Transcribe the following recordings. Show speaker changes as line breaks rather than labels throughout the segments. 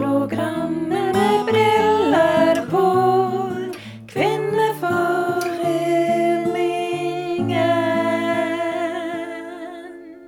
Radioprogrammet med briller på. Kvinneforeningen.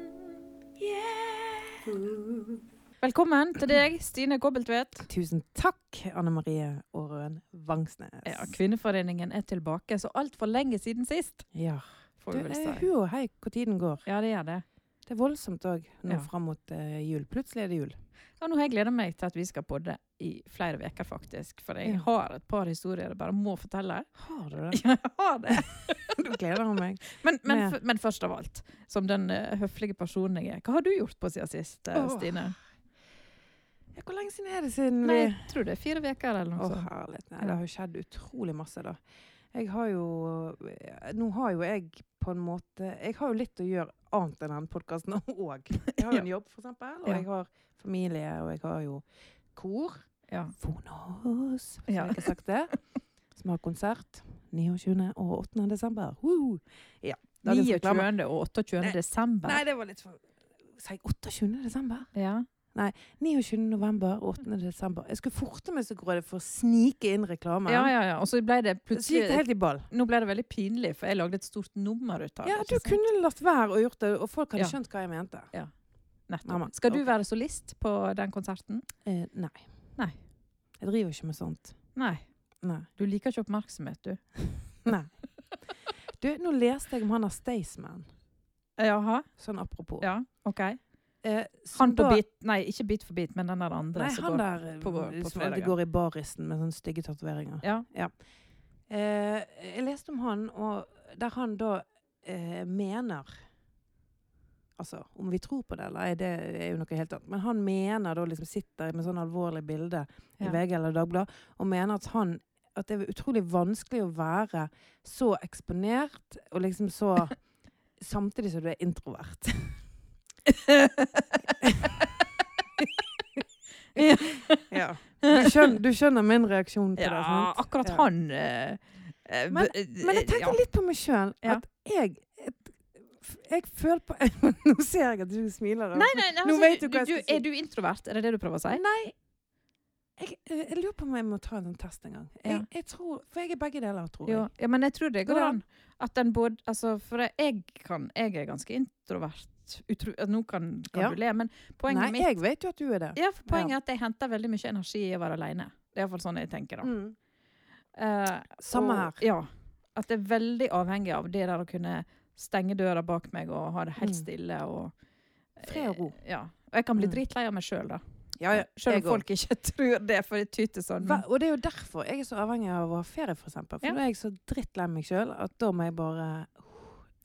Velkommen til deg, Stine Kobbeltvedt.
Tusen takk, Anne Marie Aarøen Vangsnes.
Ja, Kvinneforeningen er tilbake, så altfor lenge siden sist.
Ja.
Får
Du,
vi vel
eh,
si.
hu og hei hvor tiden går.
Ja, det gjør det.
Det er voldsomt òg, nå
Ja.
fram mot eh, jul. Plutselig er det jul.
Ja, nå har jeg gleda meg til at vi skal podde i flere uker, faktisk. For jeg
Ja.
har et par historier jeg bare må fortelle.
Har du det?
Ja, jeg har det.
Du gleder jeg meg.
Men, men,
Ja.
f- men først av alt, som den eh, høflige personen jeg er, hva har du gjort på siden sist, eh,
Åh,
Stine?
Ja, hvor lenge siden er det siden
Nei,
vi
jeg tror det er fire uker eller
Å,
noe sånt.
herlighet. Nei, det har jo skjedd utrolig masse, da. Jeg har jo eh, Nå har jo jeg på en måte Jeg har jo litt å gjøre annet enn den podkasten òg. Jeg har jo en jobb, for eksempel, og
Ja.
jeg har familie, og jeg har jo kor.
Ja.
Fonos, som
Ja.
jeg ikke har sagt det. Som har konsert 29. og 8. desember. Woo! Ja, dagens reklame.
29. og 28.
Nei.
desember.
Nei, det var litt for Sa jeg 28. desember?
Ja.
29. november og 8. desember. Jeg skulle forte meg så grådig for å snike inn reklame.
ja, ja, ja. Og så ble det
Så gikk det
plutselig
helt i ball.
Nå ble det veldig pinlig, for jeg lagde et stort nummer ut av det.
Ja,
ikke
du
sant?
kunne latt være å gjort det, og folk hadde
Ja.
skjønt hva jeg mente.
Nettopp.
Mamma,
Skal du
ok.
være solist på den konserten?
Eh, nei.
Nei.
Jeg driver ikke med sånt.
Nei.
Nei.
Du liker ikke oppmerksomhet, du.
nei. Du, nå leste jeg om han der Staysman,
Jaha.
sånn apropos.
Ja, OK.
Eh, som
Han på
da-
bit Nei, ikke bit for bit, men den der andre.
Nei,
som
han
går-
der eh,
på vår- på
som
fredager.
alltid går i barisen med sånne stygge tatoveringer.
Ja.
Eh, jeg leste om han, og der han da eh, mener Altså, om vi tror på det eller ei, det er jo noe helt annet. Men han mener da liksom sitter med sånn alvorlig bilde i
Ja.
VG eller Dagbladet, og mener at han at det er utrolig vanskelig å være så eksponert, og liksom så Samtidig som du er introvert. ja. du, skjønner, du skjønner min reaksjon på det?
ja,
sant?
akkurat
Ja.
han eh, eh,
Men-
b-
Men jeg tenkte
ja.
litt på meg sjøl.
Ja.
At jeg, et- f- jeg føler på Nå ser jeg at du smiler.
Nei, nei, nei,
Nå
altså,
vet du hva jeg skal si.
Er du introvert? Er det det du prøver å si?
Nei. Jeg, eh, jeg lurer på om jeg må ta en sånn test en gang. Jeg,
Ja.
jeg tror, for jeg er begge deler, tror
Jo,
jeg.
ja, men jeg tror det går
Går
an. At den både Altså, for jeg kan Jeg er ganske introvert. Utro, nå kan, kan
Ja.
du le, men poenget
Nei,
mitt
jeg vet jo at du er det.
Ja, for poenget er at jeg henter veldig mye energi i å være alene. Det er iallfall sånn jeg tenker, da.
Mm.
Eh,
Samme
og-
her.
Ja. At det er veldig avhengig av det der å kunne stenge døra bak meg og ha det helt
Mm.
stille og
Fred og ro.
Eh, Ja. Og jeg kan bli
Mm.
dritlei av meg sjøl, da.
Ja, ja,
Selv om
jeg
folk ikke tror det, for det tyter
også.
sånn.
Hva- Og det er jo derfor jeg er så avhengig av å ha ferie, for eksempel. For
Ja.
nå er jeg så drittlei meg sjøl at da må jeg bare uh,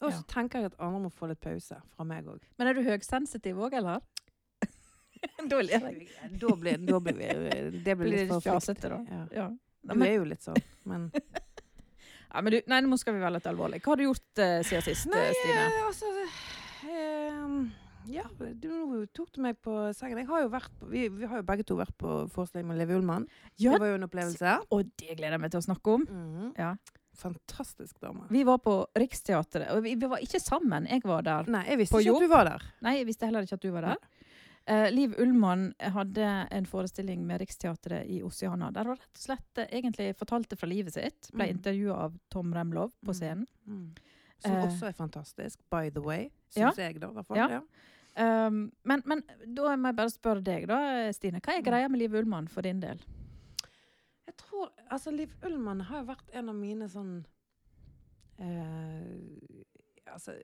Og så tenker jeg at andre må få litt pause fra meg òg.
Men er du høysensitiv òg, eller? da ler jeg.
Da blir da blir vi eh, Det blir
Blir
litt
det
for
fjasete,
frykt.
da?
Ja.
Ja. Nei,
Du
men,
er jo litt sånn, men
ja, men du, nei, nå skal vi være litt alvorlige. Hva har du gjort eh, siden sist, eh, Stine?
eh, altså ehm, Ja, du, nå tok du meg på sengen. Jeg har jo vært på, vi, vi har jo begge to vært på forestilling med Levi Ullmann.
Ja,
Det var jo en opplevelse.
og det gleder jeg meg til å snakke om.
Mhm.
Ja.
Fantastisk dame.
Vi var på Riksteatret, og vi, vi var ikke sammen. Jeg var der.
Nei, jeg visste
På
ikke
jobb?
at du var der.
Nei, jeg visste heller ikke at du var der. Eh, Liv Ullmann hadde en forestilling med Riksteatret i Oceana. Der hun rett og slett eh, egentlig fortalte fra livet sitt. Ble
Mm.
intervjua av Tom Remlov på
Mm.
scenen.
Som
Eh.
også er fantastisk, by the way.
Ja.
Syns jeg, da. i hvert fall.
Ja.
Ja.
Um, men, men da må jeg bare spørre deg, da, Stine. Hva er
Mm.
greia med Liv Ullmann for din del?
Jeg tror Altså, Liv Ullmann har jo vært en av mine sånn eh, Altså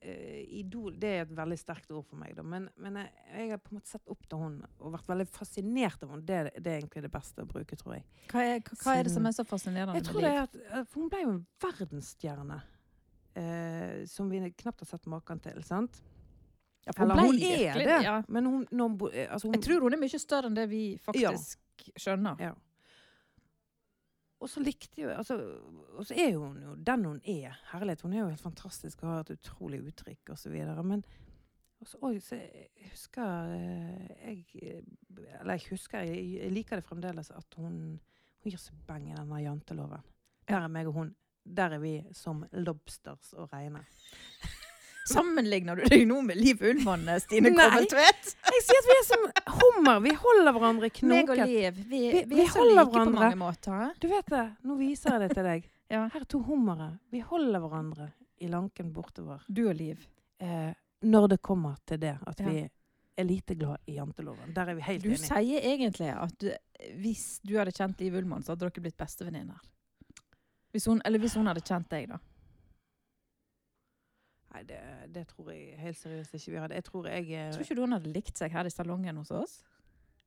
eh, Idol Det er et veldig sterkt ord for meg, da. Men, men jeg, jeg har på en måte sett opp til henne og vært veldig fascinert av henne. Det, er- det er egentlig det beste å bruke, tror jeg.
Hva er, hva, hva er det som
Siden-
er så fascinerende
Jeg tror
med
det
Liv?
er at eh, For hun ble jo en verdensstjerne. eh, som vi knapt har sett maken til, sant?
Ja, for
Eller
ble
hun er
virkelig-
det,
ja.
men hun, når hun, bo- eh, altså, hun
Jeg tror hun er mye større enn det vi
Ja.
faktisk skjønner.
Ja. Og så likte jo altså, Og så er jo hun jo den hun er. Herlighet. Hun er jo helt fantastisk og har et utrolig uttrykk osv. Men og så, oi, så jeg husker eh, jeg eh, Eller jeg husker, jeg, jeg liker det fremdeles at hun, hun gir seg beng i denne janteloven. Der er meg og hun. Der er vi som lobsters å regne.
Sammenligner du deg nå med Liv Ullmann, eh, Stine
Nei.
Kobbeltvedt?
Jeg sier at vi er som hummer. Vi holder hverandre
Meg og
knoket.
Liv, vi, vi,
Vi- vi
er så
holder
like
hverandre.
på mange måter. hæ?
Du vet det, nå viser jeg det til deg.
Ja.
Her er to hummere. Vi holder hverandre i lanken bortover.
Du og Liv.
Eh, når det kommer til det at
Ja.
vi er lite glad i janteloven. Der er vi helt
Du
enige.
sier egentlig at du, hvis du hadde kjent Liv Ullmann, så hadde dere blitt bestevenninner. Hvis hun, eller hvis hun hadde kjent deg, da.
Nei, det, det tror jeg helt seriøst ikke vi hadde. Jeg tror jeg eh,
Tror ikke du hun hadde likt seg her i salongen hos oss?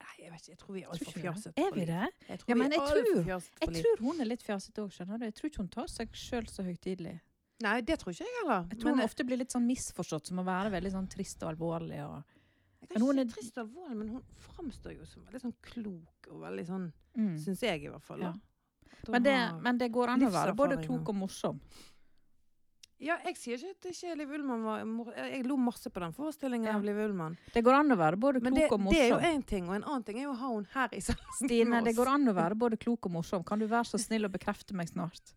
Nei, jeg vet ikke. Jeg tror vi er
Tror
altfor
ikke det.
fjasete.
Er vi det?
Jeg tror
Ja, men
vi er
jeg
alt for
tror-
fjasete for
Jeg
liv.
tror hun er litt fjasete òg, skjønner du. Jeg tror ikke hun tar seg sjøl så høytidelig.
Nei, det tror ikke jeg heller.
Jeg tror
men eh,
hun ofte blir litt sånn misforstått, som å være veldig sånn trist og alvorlig og men
jeg kan
hun
ikke
er-
si trist og alvorlig, men hun framstår jo som veldig sånn klok og veldig sånn
mm.
Synes Syns jeg, i hvert fall. da.
Ja.
At hun
men, det,
har-
men det går an å være både
livserfaring,
klok
ja.
og morsom.
Ja, jeg sier ikke at ikke Liv Ullmann var mor- eh, Jeg lo masse på den forestillingen
Ja.
av Liv Ullmann.
Det går an å være både
Men
klok
det,
og
det er jo
morsom.
én ting, og en annen ting er jo å ha hun her i salen.
Stine,
med
det
oss.
går an å være både klok og morsom. Kan du være så snill å bekrefte meg snart?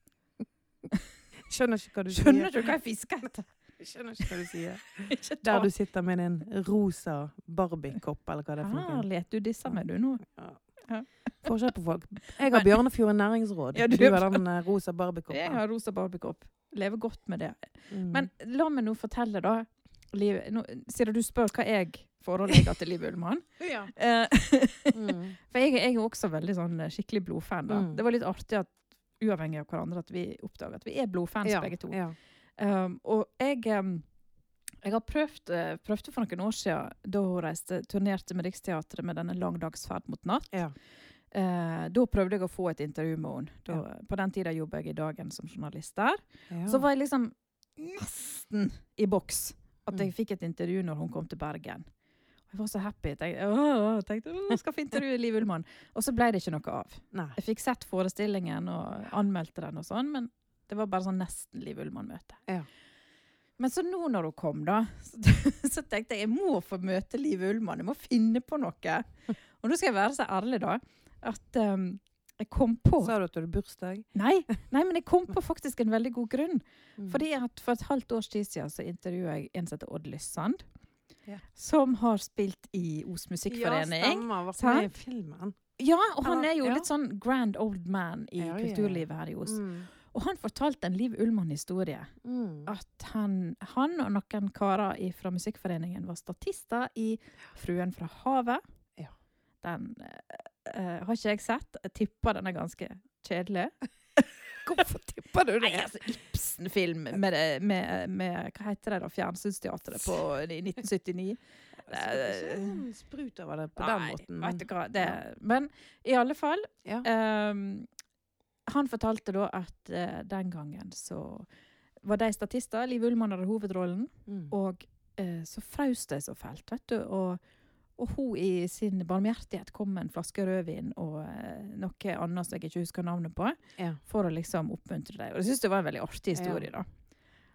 Skjønner ikke hva du
Skjønner du hva jeg fisker etter?
sier. Skjønner ikke hva du sier.
Ikke ta
Der du sitter med din rosa Barbie-kopp, eller hva det er for noe.
Herlighet, du disser meg du nå.
Forskjell på folk. Jeg har Bjørnefjorden næringsråd.
Ja,
du
du-
har den eh, rosa
Jeg
Barbie-koppen.
har rosa barbiekopp. Lever godt med det.
Mm.
Men la meg nå fortelle, da. Liv, nå, Siden du spør hva jeg forholder meg til Liv Ullmann.
ja.
Eh,
mm.
for jeg, jeg er jo også veldig sånn eh, skikkelig blodfan. da.
Mm.
Det var litt artig, at, uavhengig av hverandre, at vi oppdager at vi er blodfans
ja.
begge to.
Ja.
Um, og jeg, um, jeg har prøvd, eh, prøvde for noen år siden, da hun reiste, turnerte med Riksteatret med denne langdagsferd mot natt.
Ja.
Eh, da prøvde jeg å få et intervju med henne. Da, På den tida jobbet jeg i Dagen som journalist der.
Ja.
Så var jeg liksom nesten i boks at jeg
Mm.
fikk et intervju når hun kom til Bergen. Og Jeg var så happy. Jeg tenkte, åh, tenkte, åh, jeg skal få intervjue Liv Ullmann. Og så ble det ikke noe av.
Nei.
Jeg fikk sett forestillingen og anmeldte den, og sånn, men det var bare sånn nesten Liv Ullmann-møte.
Ja.
Men så nå når hun kom, da, så, så tenkte jeg jeg må få møte Liv Ullmann. Jeg må finne på noe. Og nå skal jeg være så ærlig, da, at um, jeg kom på
Sa du at du hadde bursdag?
nei, nei, men jeg kom på faktisk en veldig god grunn.
Mm.
Fordi at For et halvt års tid siden så intervjua jeg en som heter Odd Lyssand.
Ja.
Som har spilt i Os
Ja,
Musikkforening.
stemmer. Vært
sant?
med i filmen.
Ja, og han
Ja,
er jo
ja.
litt sånn grand old man i
Ja, ja, ja.
kulturlivet her i Os.
Mm.
Og han fortalte en Liv Ullmann-historie.
Mm.
At han, han og noen karer i- fra Musikkforeningen var statister i 'Fruen fra havet'.
Ja.
Den eh, eh, har ikke jeg sett. Jeg tipper den er ganske kjedelig.
Hvorfor tipper du
Nei, altså, Ibsen-film med, det- med, med Hva heter det da? Fjernsynsteatret på, i 1979.
Ikke sånn sprut over det på den
Nei,
måten.
vet
Men,
du hva. Det, men i alle fall
Ja.
ehm, Han fortalte da at eh, den gangen så var de statister. Liv Ullmann hadde hovedrollen.
mm.
Og eh, så fraus de så fælt, vet du. Og, og hun i sin barmhjertighet kom med en flaske rødvin og eh, noe annet som jeg ikke husker navnet på,
Ja.
for å liksom oppmuntre dem. Og jeg syns det var en veldig artig historie,
Ja.
da.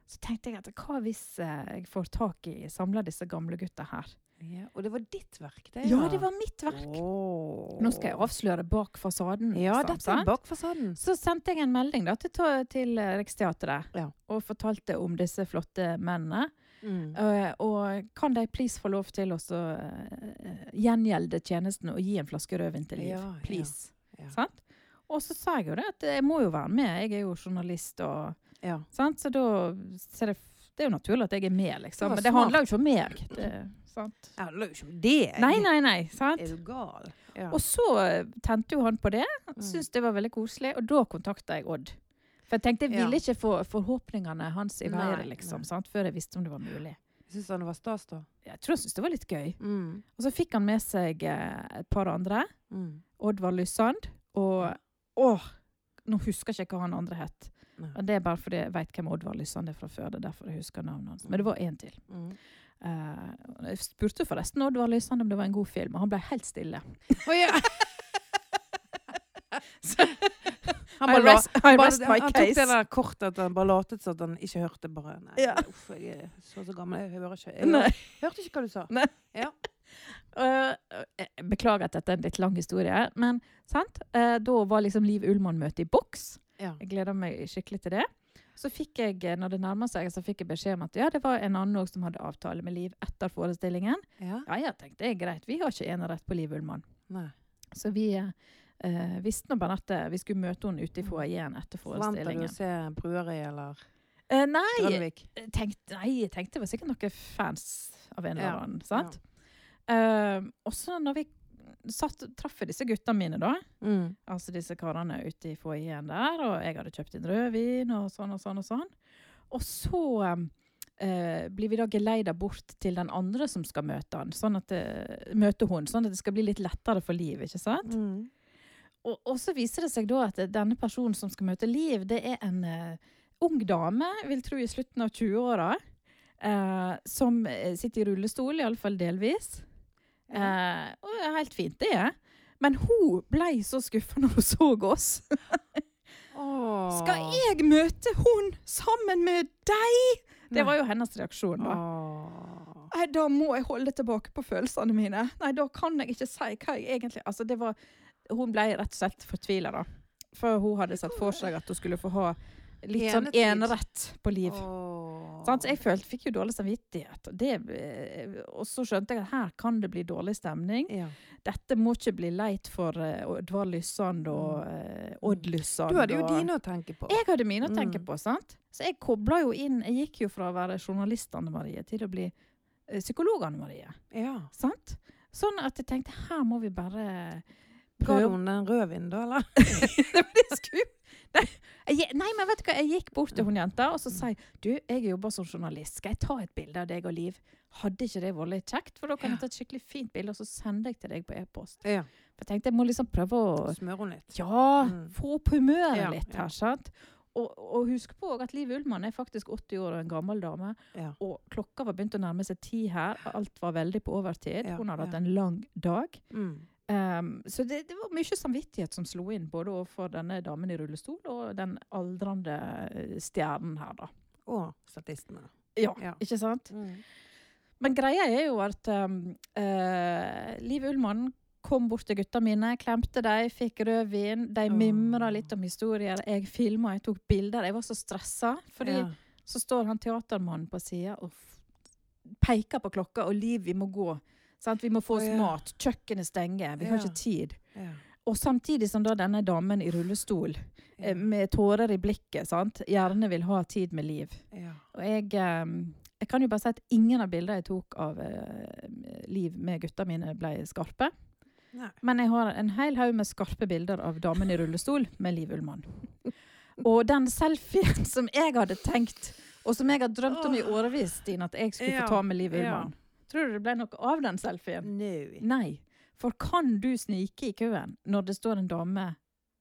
Så tenkte jeg at hva hvis eh, jeg får tak i samla disse gamle gutta her?
ja. Og det var ditt verk, det?
Ja, det var mitt verk!
Åh.
Nå skal jeg avsløre bak fasaden.
Ja,
liksom,
dette
sant?
er bak fasaden.
Så sendte jeg en melding da, til, ta- til eh, Riksteatret
Ja.
og fortalte om disse flotte mennene.
Mm.
Eh, og kan de please få lov til å så, eh, gjengjelde tjenesten og gi en flaske rødvin til Liv?
Ja, ja,
please.
ja.
Sant? Og så sa jeg jo det, at jeg må jo være med. Jeg er jo journalist, og,
Ja.
sant? så da så er det, det er jo naturlig at jeg er med, liksom.
Det var
Men det
smart.
handler jo ikke om meg. Det, sant?
Ja, det lå jo ikke om det.
Nei, nei, nei. sant?
Er du gal? Ja.
Og så eh, tente jo han på det.
Mm.
Syntes det var veldig koselig. Og da kontakta jeg Odd. For jeg tenkte jeg
Ja.
ville ikke få forhåpningene hans i
Nei,
været, liksom.
nei.
Sant? Før jeg visste om det var mulig.
Syns han det var stas, da?
Jeg tror han syntes det var litt gøy.
Mm.
Og så fikk han med seg eh, et par andre.
Mm.
Oddvar Lyssand. Og åh, nå husker jeg ikke hva han andre het.
Nei.
Men Det er bare fordi jeg vet hvem Oddvar Lyssand er fra før. det er derfor jeg husker navnet hans. Men det var én til.
Mm.
Eh, jeg spurte forresten Oddvar Lyssand om det var en god film, og han ble helt stille.
Å, ja. Han
I
bare la
rest, I
Bare-
rest my
han tok det
case.
der kortet at han bare latet som at han ikke hørte. bare, nei,
Ja.
uff, Jeg er så, så gammel, jeg hører ikke. Jeg
Nei.
hører, hørte ikke hva du sa.
Eh, jeg beklager at dette er en litt lang historie, men sant? Eh, da var liksom Liv Ullmann-møtet i boks.
Ja.
Jeg gleder meg skikkelig til det. Så fikk jeg, eh, når det nærmet seg, så fikk jeg beskjed om at ja, det var en annen også som hadde avtale med Liv etter forestillingen.
Ja?
Ja, jeg tenkte det er greit, vi har ikke enerett på Liv Ullmann.
Nei.
Så vi eh, visste nå bare at eh, vi skulle møte henne ute i foajeen etter
Forventer du å
forestillingen.
se Brøri eller
Eh, nei,
Grønvik?
jeg tenkte, nei, jeg tenkte det var sikkert noen fans av en
Ja,
eller annen. sant? Eh, og så når vi satt, traff jeg disse gutta mine, da.
Mm.
Altså disse karene ute i foajeen der, og jeg hadde kjøpt inn rødvin og sånn og sånn og sånn. Og så eh, blir vi da geleida bort til den andre som skal møte han, sånn at det, møte hun, sånn at det skal bli litt lettere for Liv, ikke sant?
Mm.
Og, og så viser det seg da at denne personen som skal møte Liv, det er en eh, ung dame, vil tro i slutten av 20-åra, eh, som eh, sitter i rullestol, iallfall delvis. Eh, og det er helt fint, det er. Men hun ble så skuffa når hun så oss.
Åh.
Skal jeg møte hun sammen med deg?! Det
Nei.
var jo hennes reaksjon. Da
Åh.
Nei, da må jeg holde tilbake på følelsene mine. Nei, da kan jeg ikke si hva jeg egentlig Altså, det var Hun ble rett og slett fortvila, da. For hun hadde sett for seg at hun skulle få ha litt sånn
Enetid.
enerett på liv.
Åh.
Sant? Så jeg følte, fikk jo dårlig samvittighet. og Det, eh, og så skjønte jeg at her kan det bli dårlig stemning.
Ja.
dette må ikke bli leit for eh, Oddvar Lyssand og eh, Odd Lyssand.
Mm. Du hadde jo
og-
dine å tenke på.
Jeg hadde mine å tenke
Mm.
på, sant? Så jeg kobla jo inn Jeg gikk jo fra å være journalist Anne-Marie til å bli eh, psykolog Anne-Marie.
Ja.
Sant? Sånn at jeg tenkte her må vi bare
Ga
prøve
hun den rødvinen, da, eller?
det var det jeg skulle- Nei, jeg- Nei, men vet du hva? Jeg gikk bort til hun jenta
Mm.
og så sa jeg, du, jeg jobber som journalist. Skal jeg ta et bilde av deg og Liv? Hadde ikke det vært litt kjekt? For da kan jeg ta et skikkelig fint bilde og så sende jeg til deg på e-post.
Ja.
For jeg tenkte jeg må liksom prøve å
Smør hun litt.
Ja,
Mm.
få opp humøret
Ja,
litt
ja.
her, sant? Og, og husk på også at Liv Ullmann er faktisk 80 år og en gammel dame.
Ja.
Og klokka var begynt å nærme seg ti her. og Alt var veldig på overtid.
Ja,
Hun hadde hatt
ja.
en lang dag.
Mm.
Ehm, så det, det var mye samvittighet som slo inn, både overfor denne damen i rullestol og den aldrende eh, stjernen her, da.
Og statistene.
Ja,
Ja.
ikke sant?
Mm.
Men greia er jo at ehm, eh, Liv Ullmann kom bort til gutta mine, klemte dem, fikk rødvin. De
Åh.
mimra litt om historier. Jeg filma, jeg tok bilder. Jeg var så stressa. Fordi
Ja.
så står han teatermannen på sida og f- peker på klokka, og Liv, vi må gå. Sant? Vi må få
Å,
oss
ja.
mat. Kjøkkenet stenger. Vi har
Ja.
ikke tid.
Ja.
Og samtidig som da denne damen i rullestol eh,
Ja.
med tårer i blikket sant? gjerne vil ha tid med Liv.
Ja.
Og jeg, ehm, jeg kan jo bare si at ingen av bildene jeg tok av eh, Liv med gutta mine, ble skarpe.
Nei.
Men jeg har en hel haug med skarpe bilder av damen i rullestol med Liv Ullmann. Og den selfien som jeg hadde tenkt, og som jeg har drømt om i årevis, Stine, at jeg skulle
Ja,
få ta med Liv
ja.
Ullmann. Tror du det ble noe av den selfien?
Nei.
Nei. For kan du snike i køen når det står en dame,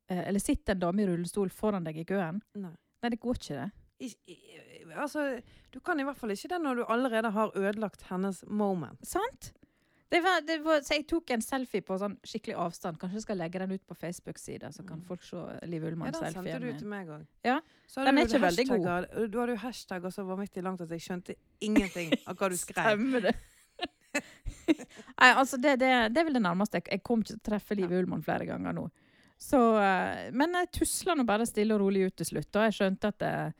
eh, eller sitter en dame i rullestol foran deg i køen?
Nei.
Nei, det går ikke det.
Ik- i- altså, du kan i hvert fall ikke det når du allerede har ødelagt hennes moment.
Sant? Det var, det var, så jeg tok en selfie på sånn skikkelig avstand. Kanskje jeg skal legge den ut på Facebook-sida, så kan
Mm.
folk se Liv
Ja, den sendte
Ullmann-selfien
du
min.
til meg òg.
Ja, den er ikke veldig god.
Du hadde jo hashtagger så vanvittig langt at jeg skjønte ingenting av hva du skrev.
Stemmer det? Nei, altså, det, det, det er vel det nærmeste. Jeg- Jeg kommer ikke til å treffe Liv Ullmann flere ganger nå. Så, eh, men jeg tusla nå bare stille og rolig ut til slutt, og jeg skjønte at eh,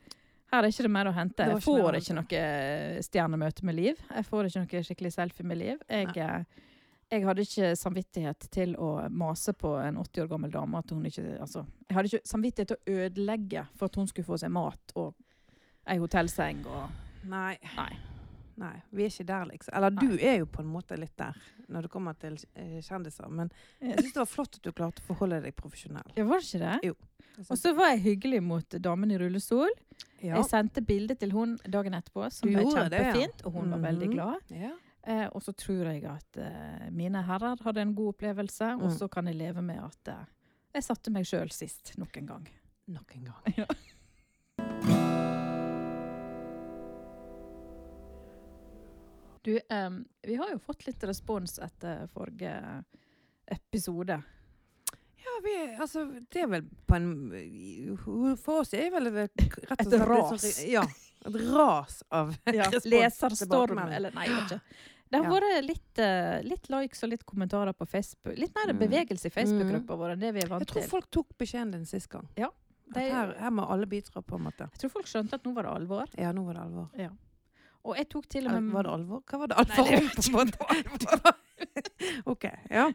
her er ikke det mer å hente.
Det var
Jeg
ikke mer å
får ikke noe stjernemøte med Liv. Jeg får ikke noe skikkelig selfie med Liv. Jeg, eh, jeg hadde ikke samvittighet til å mase på en 80 år gammel dame at hun ikke Altså, jeg hadde ikke samvittighet til å ødelegge for at hun skulle få seg mat og ei hotellseng og
Nei.
Nei.
Nei, Vi er ikke der, liksom. Eller du er jo på en måte litt der når det kommer til eh, kjendiser. Men jeg syns det var flott at du klarte å forholde deg profesjonell.
Ja, var det ikke det?
Jeg
Og
synes-
så var jeg hyggelig mot damen i rullestol.
Ja.
Jeg sendte bilde til hun dagen etterpå, som
Du
var
gjorde det, ja.
kjempefint, og hun var veldig
Mhm.
glad.
Ja.
Eh, og så tror jeg at eh, mine herrer hadde en god opplevelse, og
Mm.
så kan jeg leve med at eh, jeg satte meg sjøl sist nok en gang.
Nok en gang.
Ja. Du, eh, vi har jo fått litt respons etter forrige episode.
Ja, vi, altså, det er vel på en eh, For oss er vel det rett
Et
og slett
ras.
litt sånn- ja. Et ras av
ja,
respons
leserstorm,
tilbakemelding.
eller nei, jeg vet ikke. Det har
Ja.
vært litt, eh, litt likes og litt kommentarer på Facebook. Litt mer
Mm.
bevegelse i Facebook-gruppa vår enn det vi er
Jeg
vant
tror
til.
folk tok beskjeden din sist gang.
Ja. De,
At her, her må alle bidra, på en måte.
jeg tror folk skjønte at nå var det alvor.
Ja, nå var det alvor.
Og jeg tok til og
Eller,
med
var det alvor? Hva var det alvor
Nei, det
om, på en måte? OK. Ja.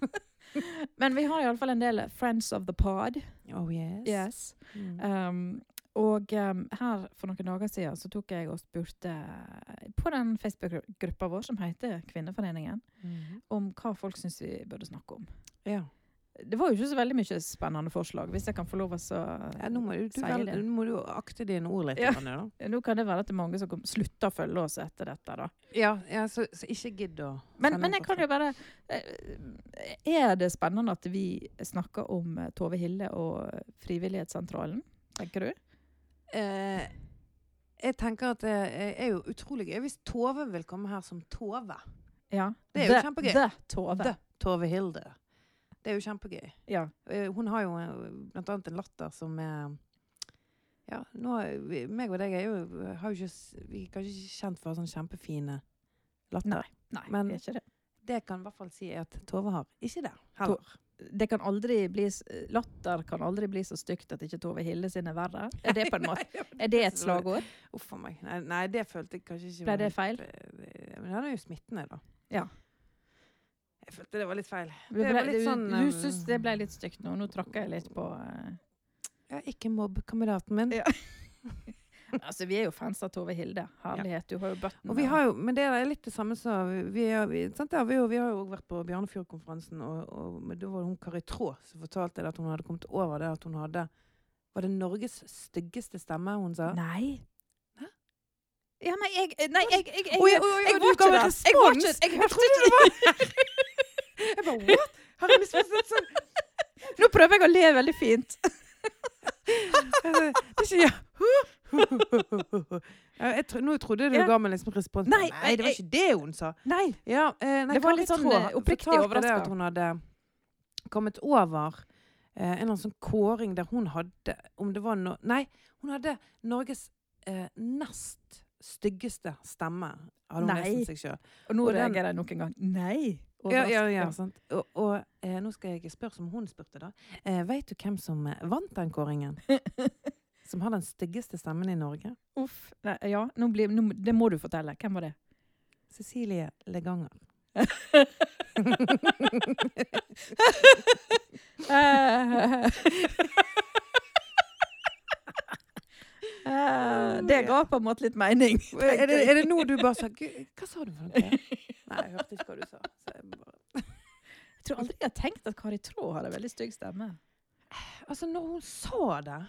Men vi har iallfall en del Friends of the Pod.
Oh yes.
Yes.
Mm.
Um, og um, her for noen dager siden så tok jeg og spurte på den Facebook-gruppa vår som heter Kvinneforeningen,
Mhm.
om hva folk syns vi burde snakke om.
Ja.
Det var jo ikke så veldig mye spennende forslag, hvis jeg kan få lov å så
ja. Nå må du, du,
Sier
vel,
det.
nå må du akte dine ord litt.
Ja.
Anne, da.
Nå kan det være at det er mange som kom- slutter å følge oss etter dette, da.
Ja, ja så, så ikke gidd å
Men,
sende
men
en
jeg kan jo bare eh, Er det spennende at vi snakker om eh, Tove Hille og Frivillighetssentralen, tenker du?
Eh, jeg tenker at det er jo utrolig gøy hvis Tove vil komme her som Tove.
Ja.
Det er jo
The-
kjempegøy.
The Tove.
Da, Tove Hilde. Det er jo kjempegøy.
Ja.
Eh, Hun har jo eh, blant annet en latter som er Ja, nå, er vi- meg og deg er jo, har jo ikke, s- vi er kanskje ikke kjent for sånne kjempefine latter.
Nei,
Men-
det er ikke det.
Det kan i hvert fall si at Tove har. Ikke det heller.
det kan aldri bli, s- latter kan aldri bli så stygt at ikke Tove Hille sin er verre. Er det, på en måte, er det et slagord?
Uff a meg. Nei, nei, det følte jeg kanskje ikke
Ble
var
det feil?
helt, eh, Men den er jo smittende, da.
Ja.
Jeg følte det var litt feil.
Det
var
ble,
litt
du
sånn,
du
eh,
syns det ble litt stygt nå. Nå tråkka jeg litt på eh.
Ja, ikke mobb kameraten min.
Ja. Altså, vi er jo fans av Tove Hilde. Herlighet, du har jo bøtten.
Og vi har jo, men det er litt det samme som vi, er- vi, sant, det har vi, jo- vi har jo også vært på Bjarnefjordkonferansen, og, og men da var det hun Kari Traa som fortalte det at hun hadde kommet over det at hun hadde Var det Norges styggeste stemme hun sa?
Nei.
Hæ?
Ja, nei, jeg eh, Nei, jeg, jeg, jeg,
Oi, oi,
jeg,
oi, oi,
var
du ga
ikke
meg
der. Jeg var ikke
respons.
Jeg hørte
trodde
ikke
Jeg bare, what? Har jeg misforstått sånn?
Nå prøver jeg å le veldig fint.
Eh, Det er ikke ja. Ja, jeg tro, nå trodde jeg du
Ja.
ga meg liksom respons.
Nei,
det var
jeg-
ikke det hun sa.
Nei.
Ja, eh, nei,
Det var
Kari
litt sånn,
Traa
eh, oppriktig
fortalte det
overrasket.
At hun hadde kommet over eh, en eller annen sånn kåring der hun hadde Om det var no Nei, hun hadde Norges eh, nest styggeste stemme, hadde hun
Nei.
nesten seg sjøl.
Og nå
Og den-
reagerer jeg nok en gang. Nei.
Ja, ja, ja,
Overraskende.
sant. Og, og eh, nå skal jeg spørre som hun spurte, da. Eh, Veit du hvem som eh, vant den kåringen? som har den styggeste stemmen i Norge?
Uff. Nei, ja, nå blir, nå, det må du fortelle. Hvem var det?
Cecilie Leganger.
Eh, eh, det ga på en måte litt mening.
Er det, er det nå du bare sa «Gud, Hva sa du for noe? Nei, jeg hørte ikke hva du sa. Så jeg bare
Jeg tror aldri jeg har tenkt at Kari Traa hadde veldig stygg stemme.
Altså, når hun sa det,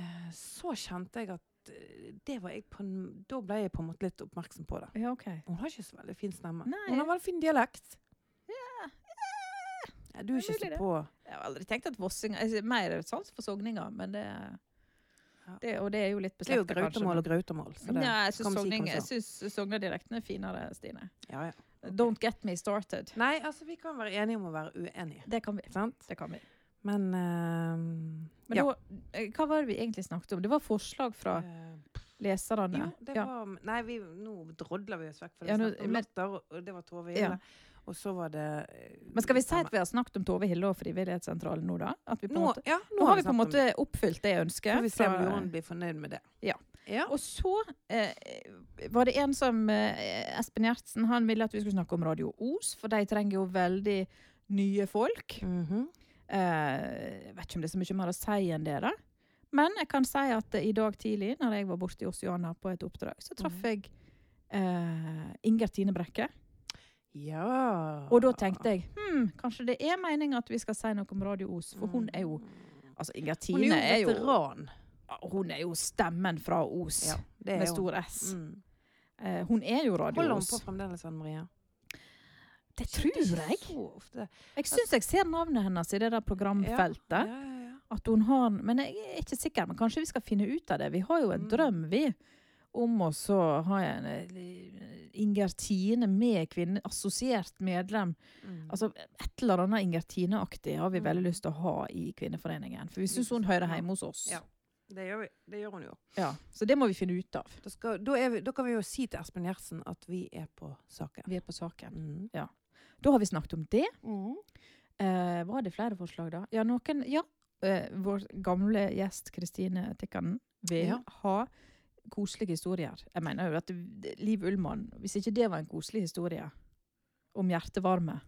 eh, så kjente jeg at eh, det var jeg på en, Da ble jeg på en måte litt oppmerksom på det.
Ja, ok.
Hun har ikke så veldig fin stemme.
Nei.
Hun har veldig fin dialekt. Ja, du
Det er
er ikke
mulig,
så på.
Jeg har aldri tenkt at vossinger jeg ser Mer sans for sogninger, men det, det Og det er jo litt
Det er jo
beslektet,
grautemål og grautemål. Så det,
Nei, jeg syns
kan vi si
sogning-
hva
jeg
som
syns sognedialekten er finere, Stine.
ja, ja.
Don't get me started.
Nei, altså, vi kan være enige om å være uenige.
Det kan vi.
Sant?
Det kan vi.
Men, eh,
Men
ja.
da, eh, hva var det vi egentlig snakket om? Det var forslag fra
Eh,
leserne.
Jo, det
ja.
var Nei, vi, nå drodler vi oss vekk. For det
Ja,
ja,
nå-
om
men-
latter, og det var
Ja.
Tove Hille. Og så var det eh,
Men skal vi si
samme.
at vi har snakket om Tove Hille og Frivillighetssentralen nå, da? At vi på en
nå,
måte,
ja,
nå har vi på
snakket
en
om det.
måte oppfylt det
Får
ønsket.
vi se om
fra-
Jorunn blir fornøyd med det.
Ja.
ja.
Og så eh, var det en som eh, Espen Gjertsen han ville at vi skulle snakke om Radio Os, for de trenger jo veldig nye folk. Eh, jeg vet ikke om det er så mye mer å si enn det, da. Men jeg kan si at eh, i dag tidlig, når jeg var borte i Oceana på et oppdrag, så traff
Mhm.
jeg eh, Inger Tine Brekke.
ja.
Og da tenkte jeg hm, kanskje det er meninga at vi skal si noe om Radio Os, for hun er jo Altså, Inger
Mhm. Mm. Hun
Tine
er
er
jo
jo,
veteran.
hun er jo stemmen fra Os,
Ja, det er
med
hun.
stor S.
Mm.
Eh, hun er jo
Holder
Radio
hun
Os.
på fremdeles, Anne Maria?
Det tror
Det er ikke
jeg.
Så ofte.
Jeg syns jeg ser navnet hennes i det der
Ja,
programfeltet.
ja, ja.
At hun har, men jeg er ikke sikker. Men kanskje vi skal finne ut av det. Vi har jo en
Mm.
drøm, vi. Om å så ha en eh, Inger Tine med kvinne, assosiert medlem.
Mm.
Altså et eller annet Inger Tine-aktig har vi
Mm.
veldig lyst til å ha i Kvinneforeningen. For vi syns hun hører hjemme hos oss.
Ja. det, gjør vi. det gjør hun jo.
Ja, så det må vi finne ut av.
Da, skal, da, er vi, da kan vi jo si til Espen Gjertsen at vi er på saken.
Vi er på saken.
Mm.
Da har vi snakket om det. Eh, var det flere forslag, da? Ja, noen, ja eh, vår gamle gjest Kristine Tikkanen vil
Ja.
ha koselige historier. Jeg mener jo at det- Liv Ullmann, hvis ikke det var en koselig historie om hjertevarme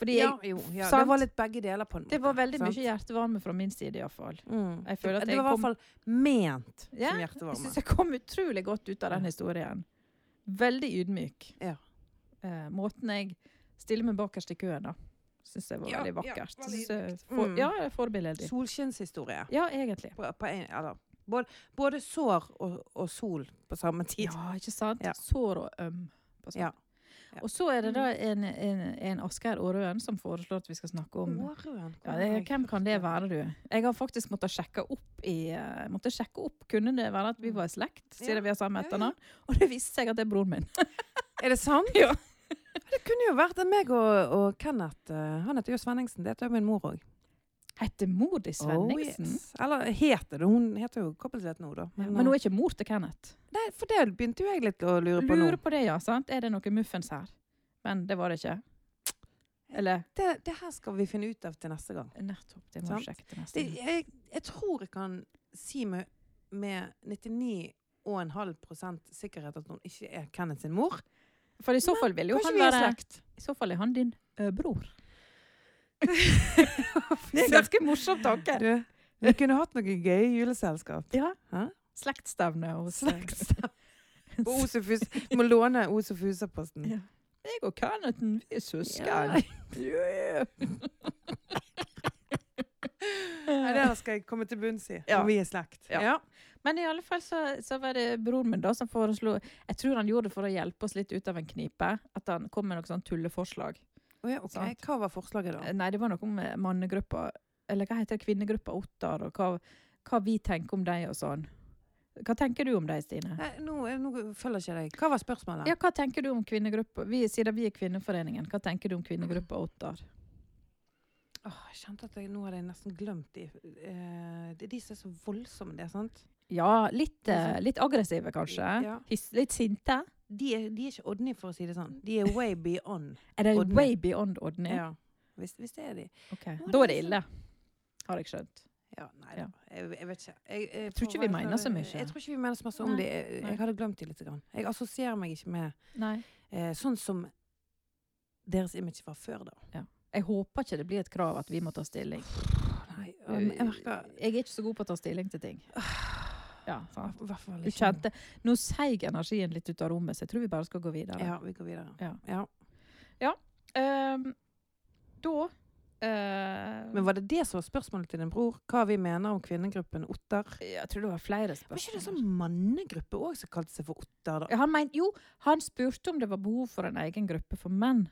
Fordi jeg,
ja, jo, ja, det
sant?
var litt begge deler på en måte.
det var veldig
sant?
mye hjertevarme fra min side, iallfall.
Mm.
Jeg føler at
det,
jeg
var i
kom-
hvert fall ment
Ja,
som
Jeg
hjertevarme.
syns jeg kom utrolig godt ut av den
Ja.
historien. Veldig ydmyk.
Ja.
Eh, måten jeg stiller meg bakerst i køen, da, syns jeg var
Ja,
veldig
ja,
vakkert.
veldig
Så,
ydmykt.
for,
Mm.
Ja, forbilledlig.
Solskinnshistorie.
Ja, egentlig.
På, på en, eller, både, både sår og, og sol på samme tid.
Ja, ikke sant?
Ja.
Sår og øm. på sånn.
Ja. Ja.
Og så er det da en, en, en Asgeir Aarøen som foreslår at vi skal snakke om
Årøen,
ja,
hvor
det,
har jeg
Hvem
hørt
kan det være, du? Jeg har faktisk måttet sjekke opp i eh, måtte sjekke opp. Kunne det være at vi var i slekt, siden
Ja.
vi har samme
Ja, ja.
etternavn? Og det viste seg at det er broren min.
Er det sant?
Ja.
det kunne jo vært at meg og, og Kenneth eh, Han heter jo Svenningsen. Det heter jo min mor òg.
Heter mor di Svenningsen?
Eller heter det. Hun heter jo Koppelsvedt nå, da.
Men hun er ikke mor til Kenneth.
eh, nei, for det begynte jo jeg litt å lure på
Lurer
nå.
på det, ja. sant? Er det noe muffens her? Men det var det ikke.
Eh,
Eller
Det, det her skal vi finne ut av til neste gang.
Nettopp. Det må
Sant.
du sjekke til neste
Det,
gang.
jeg, jeg tror jeg kan si med, med 99,5 sikkerhet at hun ikke er Kenneth sin mor.
For i så fall vil jo
Kanskje
han
vi er
være
slekt?
I så fall er han din ø, bror. Det er en ganske morsom tanke.
Du, vi kunne hatt noe gøy juleselskap.
Ja.
Hæ?
Slektstevne hos
På Osefus. Vi må låne Osofusa-posten.
Ja. Jeg og Kennethen, vi er søsken.
Ja.
Yeah.
Nei, det der skal jeg komme til bunns i.
Ja.
Om vi er slekt.
Ja. Men i alle fall så, så var det broren min da som foreslo Jeg tror han gjorde det for å hjelpe oss litt ut av en knipe. At han kom med noe sånn tulleforslag.
Å ja, ok.
Sant.
Hva var forslaget da?
Nei, det var noe om eh, mannegruppa Eller hva heter det? Kvinnegruppa Ottar, og hva, hva vi tenker om deg og sånn. Hva tenker du om deg, Stine?
Nei, nå, nå følger ikke jeg deg. Hva var spørsmålet?
Ja, hva tenker du om kvinnegruppa vi, Siden vi er Kvinneforeningen, hva tenker du om kvinnegruppa Ottar?
Åh, jeg kjente at jeg, nå hadde jeg nesten glemt de. Eh, det er de som er så voldsomme, det, sant?
Ja, litt, eh, litt aggressive kanskje.
sånn- Ja.
Hiss, litt sinte.
De er, de er ikke Odny, for å si det sånn. De er way beyond.
Er det
Odny.
way beyond Odny?
Ja. Hvis, hvis det er de.
Ok,
Nå er
Da
det
er det
liksom-
ille, har jeg skjønt.
Ja, nei
Ja.
da. Jeg, jeg vet ikke. Jeg, jeg
tror
får
ikke
være
vi mener
klar-
så mye.
Jeg tror ikke vi mener så masse om
Nei,
de. Jeg,
nei.
jeg hadde glemt de litt. Grann. Jeg assosierer meg ikke med
Nei.
eh, sånn som deres image var før, da.
Jeg håper ikke det blir et krav at vi må ta stilling.
Nei, um, jeg merker
Jeg er ikke så god på å ta stilling til ting. Ja, sant.
I hvert fall liksom-
Du kjente Nå seig energien litt ut av rommet, så jeg tror vi bare skal gå videre.
Ja, vi går videre.
Ja.
Ja.
Ehm, da ehm,
Men var det det som var spørsmålet til din bror? Hva vi mener om kvinnegruppen Otter?
Jeg tror det var flere
Var ikke det en
spørsmål.
sånn mannegruppe òg som kalte seg for Otter, da?
Ja, han mente, jo, han spurte om det var behov for en egen gruppe for menn.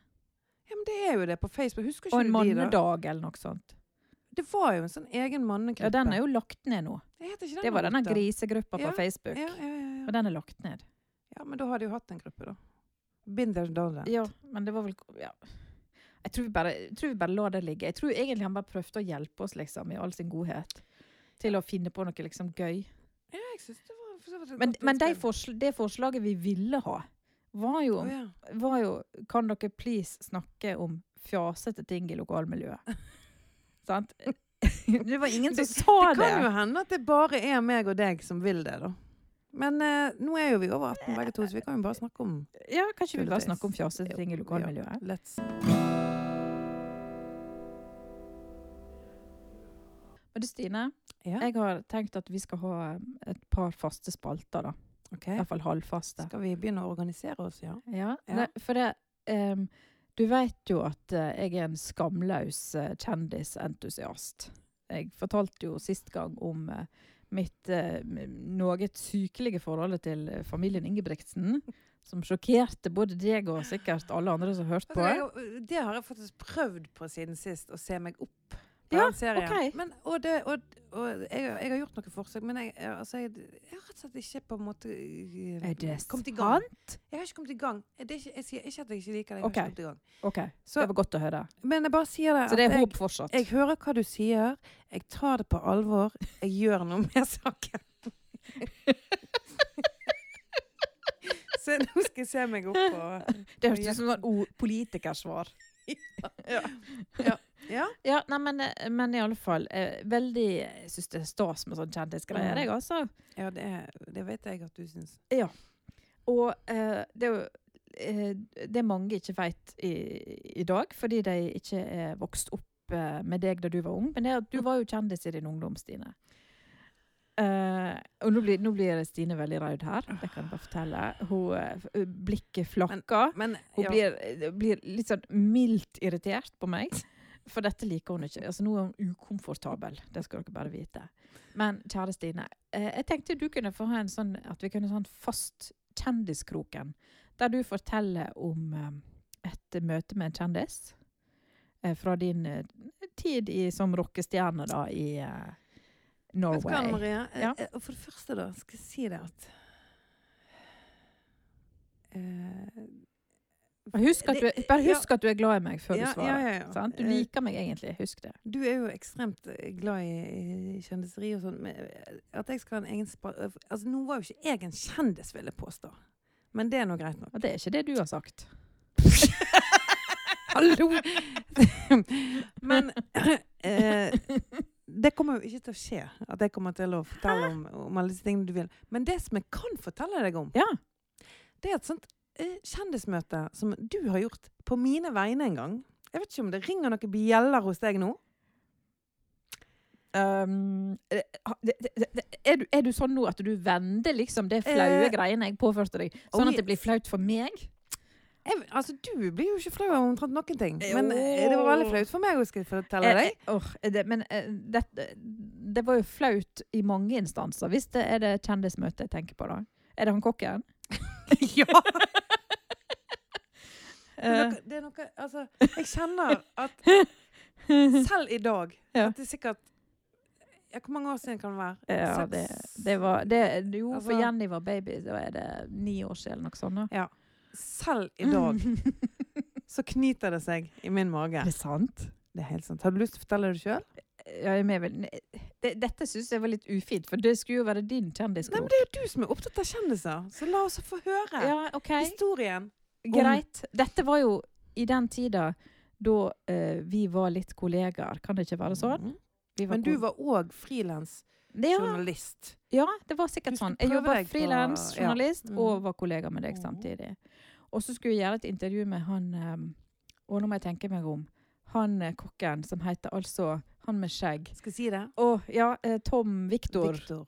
Ja, men det er jo det på Facebook. Husker
Og
ikke
en
du de, da?
mannedag eller noe sånt.
Det var jo en sånn egen mannegruppe.
Ja, Den er jo lagt ned nå.
Jeg heter ikke den
Det var denne
Otter.
grisegruppa på
Ja,
Facebook.
Ja, ja, ja, ja.
Og den er lagt ned.
Ja, men da har de jo hatt en gruppe, da. Been there, done that.
Ja, men det var vel ja. jeg, tror vi bare, jeg tror vi bare lar det ligge. Jeg tror egentlig han bare prøvde å hjelpe oss liksom, i all sin godhet. Til å finne på noe liksom, gøy.
Ja, jeg synes det var for så vidt et
Men,
godt
men de
innspill.
forsl det forslaget vi ville ha, var jo,
Å, ja.
var jo Kan dere please snakke om fjasete ting i lokalmiljøet? Sant? Det var ingen som sa
Det
det.
kan jo hende at det bare er meg og deg som vil det, da. Men eh, nå er jo vi over 18 begge to, så vi kan jo bare snakke om
Ja, kan ikke vi bare
Tulletøys.
snakke om fjasete
Jo,
ting i
ja.
lokalmiljøet?
Let's
Men du, Stine,
Ja,
jeg har tenkt at vi skal ha um, et par faste spalter, da.
OK.
I hvert fall halvfaste.
Skal vi begynne å organisere oss, ja?
Ja,
Ja.
Nei, for det em, Du vet jo at eh, jeg er en skamløs eh, kjendisentusiast. Jeg fortalte jo sist gang om eh, mitt eh, m- noe sykelige forhold til eh, familien Ingebrigtsen. Som sjokkerte både deg og sikkert alle andre som hørte på.
Altså, jeg, det har jeg faktisk prøvd på siden sist, å se meg opp på
Ja,
den serien.
ok.
Men, og det, og, og jeg, jeg har gjort noen forsøk, men jeg, jeg, altså, jeg, jeg har rett og slett ikke på en måte eh,
Er det
kommet i gang.
sant?
Jeg har ikke kommet i gang. Det er ikke, jeg sier ikke at jeg ikke liker det.
Ok.
Jeg har ikke kommet i gang.
OK,
Så,
det var godt å høre.
men jeg bare sier det.
Så det
at
er
jeg,
håp fortsatt.
jeg hører hva du sier. Jeg tar det på alvor. Jeg gjør noe med saken. Så nå skal jeg se meg opp og
sånn Det hørtes ut som et politikersvar.
Ja.
Ja, nei, men, men i alle fall, eh, veldig, jeg synes det er stas med sånn kjendisgreier, jeg altså.
Ja, det, er- det vet jeg at du syns.
Og eh, det er jo eh, det mange ikke vet i, i dag, fordi de ikke er vokst opp eh, med deg da du var ung, men det er at du var jo kjendis i din ungdom, Stine. Eh, og nå blir, nå blir Stine veldig rød her, det kan jeg bare fortelle. Hun, eh, f- blikket flakker.
Men
Hun
ja,
blir, eh, blir litt sånn mildt irritert på meg, for dette liker hun ikke. Altså, nå er hun ukomfortabel, det skal dere bare vite. Men kjære Stine, eh, jeg tenkte du kunne få ha en sånn, at vi kunne ha en fast kjendiskroken, der du forteller om eh, et møte med en kjendis, eh, fra din eh, tid i, som rockestjerne da, i eh,
Vet du hva,
Norway.
Anne Maria? Eh,
Ja.
eh, For det første, da, skal jeg si det at eh,
Bare husk, at du, er-
Det-
bare
ja.
husk at du er glad i meg før du
ja,
svarer.
ja, ja.
Sant? Du
Eh,
liker meg egentlig, husk det.
Du er jo ekstremt eh, glad i, i kjendiseri og sånn. men, eh, At jeg skal ha en egen spa... eh, Altså, nå var jo ikke jeg en kjendis, vil jeg påstå. Men det er nå greit nok.
Og det er ikke det du har sagt.
Hallo! Men eh, Det kommer jo ikke til å skje, at jeg kommer til å fortelle om, om alle disse tingene du vil. Men det som jeg kan fortelle deg om,
Ja.
det er et sånt eh, kjendismøte som du har gjort på mine vegne en gang. Jeg vet ikke om det ringer noen bjeller hos deg nå.
Um, eh, ha- det- det- det- er, du, er du sånn nå at du vender liksom det flaue
Eh,
greiene jeg påførte deg,
oh
sånn at det
yes.
blir flaut for meg?
Jeg, altså, du blir jo ikke flau av omtrent noen ting.
Jo.
Men eh, det var veldig flaut for meg å skulle fortelle
Eh,
deg.
eh, åh, eh, det, men eh, det, det var jo flaut i mange instanser. Hvis det er det kjendismøtet jeg tenker på, da. Er det han kokken?
ja! Det er
Eh,
noe, det er noe Altså, jeg kjenner at selv i dag
Ja.
At det er sikkert ja, Hvor mange år siden kan det være?
ja,
Seks-
det, det var det, Jo, for
Altså-
Jenny var baby, da er det ni år siden, noe sånt. da.
Selv i dag så knyter det seg i min mage.
Er det sant?
Det er helt sant. Har du lyst til å fortelle det sjøl?
Ja, jeg er med, men, eh, det, dette syns jeg var litt ufint, for det skulle jo være din
Nei,
kjendiskrok.
men det er jo du som er opptatt av kjendiser, så la oss få høre
Ja, ok.
historien.
Greit. Dette var jo i den tida da eh, vi var litt kollegaer. Kan det ikke være sånn?
Mhm.
Vi
Men du
kol-
var òg frilansjournalist.
det, ja, ja, det var sikkert
Du
sånn.
skulle
Jeg
prøve
jobba
deg på-
frilans
ja.
journalist
Mm.
og var kollega med deg
Mhm.
samtidig. Og så skulle jeg gjøre et intervju med han eh, Og nå må jeg tenke meg om. Han eh, kokken som heter altså Han med skjegg.
Skal jeg si det?
Å ja, eh, Tom Viktor
Viktor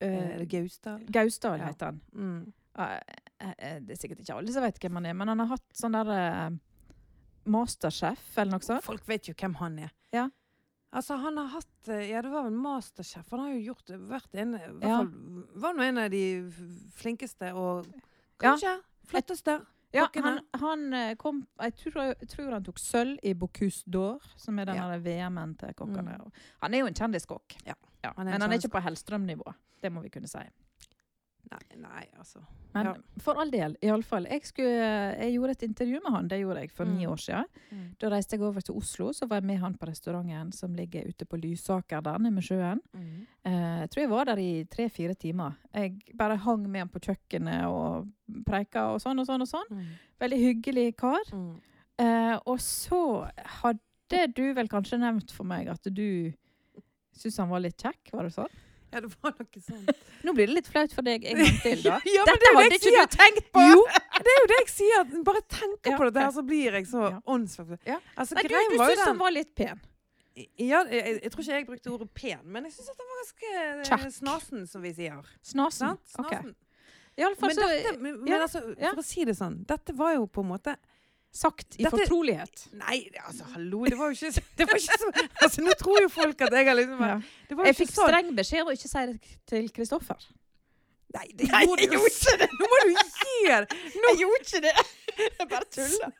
eh,
eh,
Gausdal.
Gausdal
Ja.
heter han.
Mm.
Ja, eh, eh, det er sikkert ikke alle som vet hvem han er, men han har hatt sånn derre eh, Masterchef eller noe sånt.
Folk vet jo hvem han er.
Ja.
Altså, han har hatt eh, Ja, det var vel Masterchef. Han har jo gjort eh, vært en i hvert
Ja.
fall, Var nå en av de f- flinkeste og
Ja.
kanskje flotteste.
Ja,
Klokken
han, han eh, kom Jeg tror, jeg tror han tok sølv i Bocuse d'Or, som er den
Ja.
der VM-en til kokkene.
Mm.
Og Han er jo en kjendiskokk,
Ja, han er
men
en
han er ikke på Hellstrøm-nivå. Det må vi kunne si.
Nei, nei, altså.
Men
Ja.
for all del, iallfall. Jeg, skulle- eh, jeg gjorde et intervju med han, det gjorde jeg for
Mm.
ni år siden.
Mm.
Da reiste jeg over til Oslo, så var jeg med han på restauranten som ligger ute på Lysaker der nede med sjøen.
Mm.
Eh, jeg tror jeg var der i tre-fire timer. Jeg bare hang med han på kjøkkenet og preika og sånn og sånn og sånn. Veldig hyggelig kar.
Mm.
Eh, og så hadde du vel kanskje nevnt for meg at du syntes han var litt kjekk, var det sånn?
Ja, det var noe sånt.
Nå blir det litt flaut for deg en gang til, da.
Ja,
Dette
men det er jo det
hadde
jeg
ikke du tenkt på!
Jo, det er jo det jeg sier. at Bare tenker
Ja.
på dette, her, så blir jeg så
Ja.
åndssvak.
Ja.
Altså,
Nei, du,
greien
du
var jo
syntes han
den
var litt pen.
ja, jeg, jeg, jeg tror ikke jeg brukte ordet pen, men jeg syns han var ganske eh,
Kjekk.
snasen, som vi sier.
Snasen.
Sant?
Mm, Ok.
Snasen.
I alle fall
Men,
så
dette, men, men
ja,
altså,
ja.
for å si det sånn, dette var jo på en måte
sagt i
Dette-
fortrolighet.
Nei, altså, hallo, det var jo ikke, det var ikke så altså, Nå tror jo folk at jeg har liksom
Ja.
Det var jo
Jeg
ikke
fikk
sånn.
streng beskjed om å ikke si det til Kristoffer.
Nei, det
Nei,
gjorde
jeg
du jo
gjorde
ikke! Nå må du gi deg! Nå,
gjorde ikke det! Jeg bare
tuller.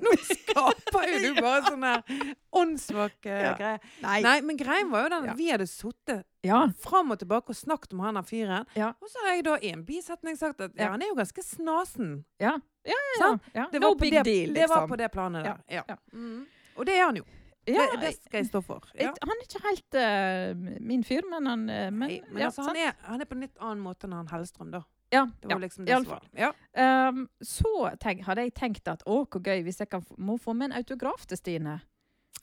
nå skaper jo du bare sånn her åndssvak eh,
Ja.
greie.
Nei.
Nei, men greien var jo den
Ja.
at vi hadde sittet
Ja.
fram og tilbake og snakket om han der fyren.
Ja.
Og så har jeg da i en bisetning sagt at ja,
Ja.
han er jo ganske snasen.
Ja. ja, ja,
Sant?
ja.
Det var
No
på
big
det,
deal,
Det var
liksom.
på det planet der. Ja.
Ja.
Mm. Og det er han jo.
Ja,
det, det skal jeg stå for. Ja.
jeg- Han er ikke helt eh, min fyr, men han eh, men,
Nei, men
ja,
altså,
sant?
han, er, han er på en litt annen måte enn han Hellstrøm, da.
ja,
Det var
ja.
jo liksom
i
det
alle
som var. Ja.
Ehm, så tenk, hadde jeg tenkt at å, hvor gøy hvis jeg kan, f- må få med en autograf til Stine.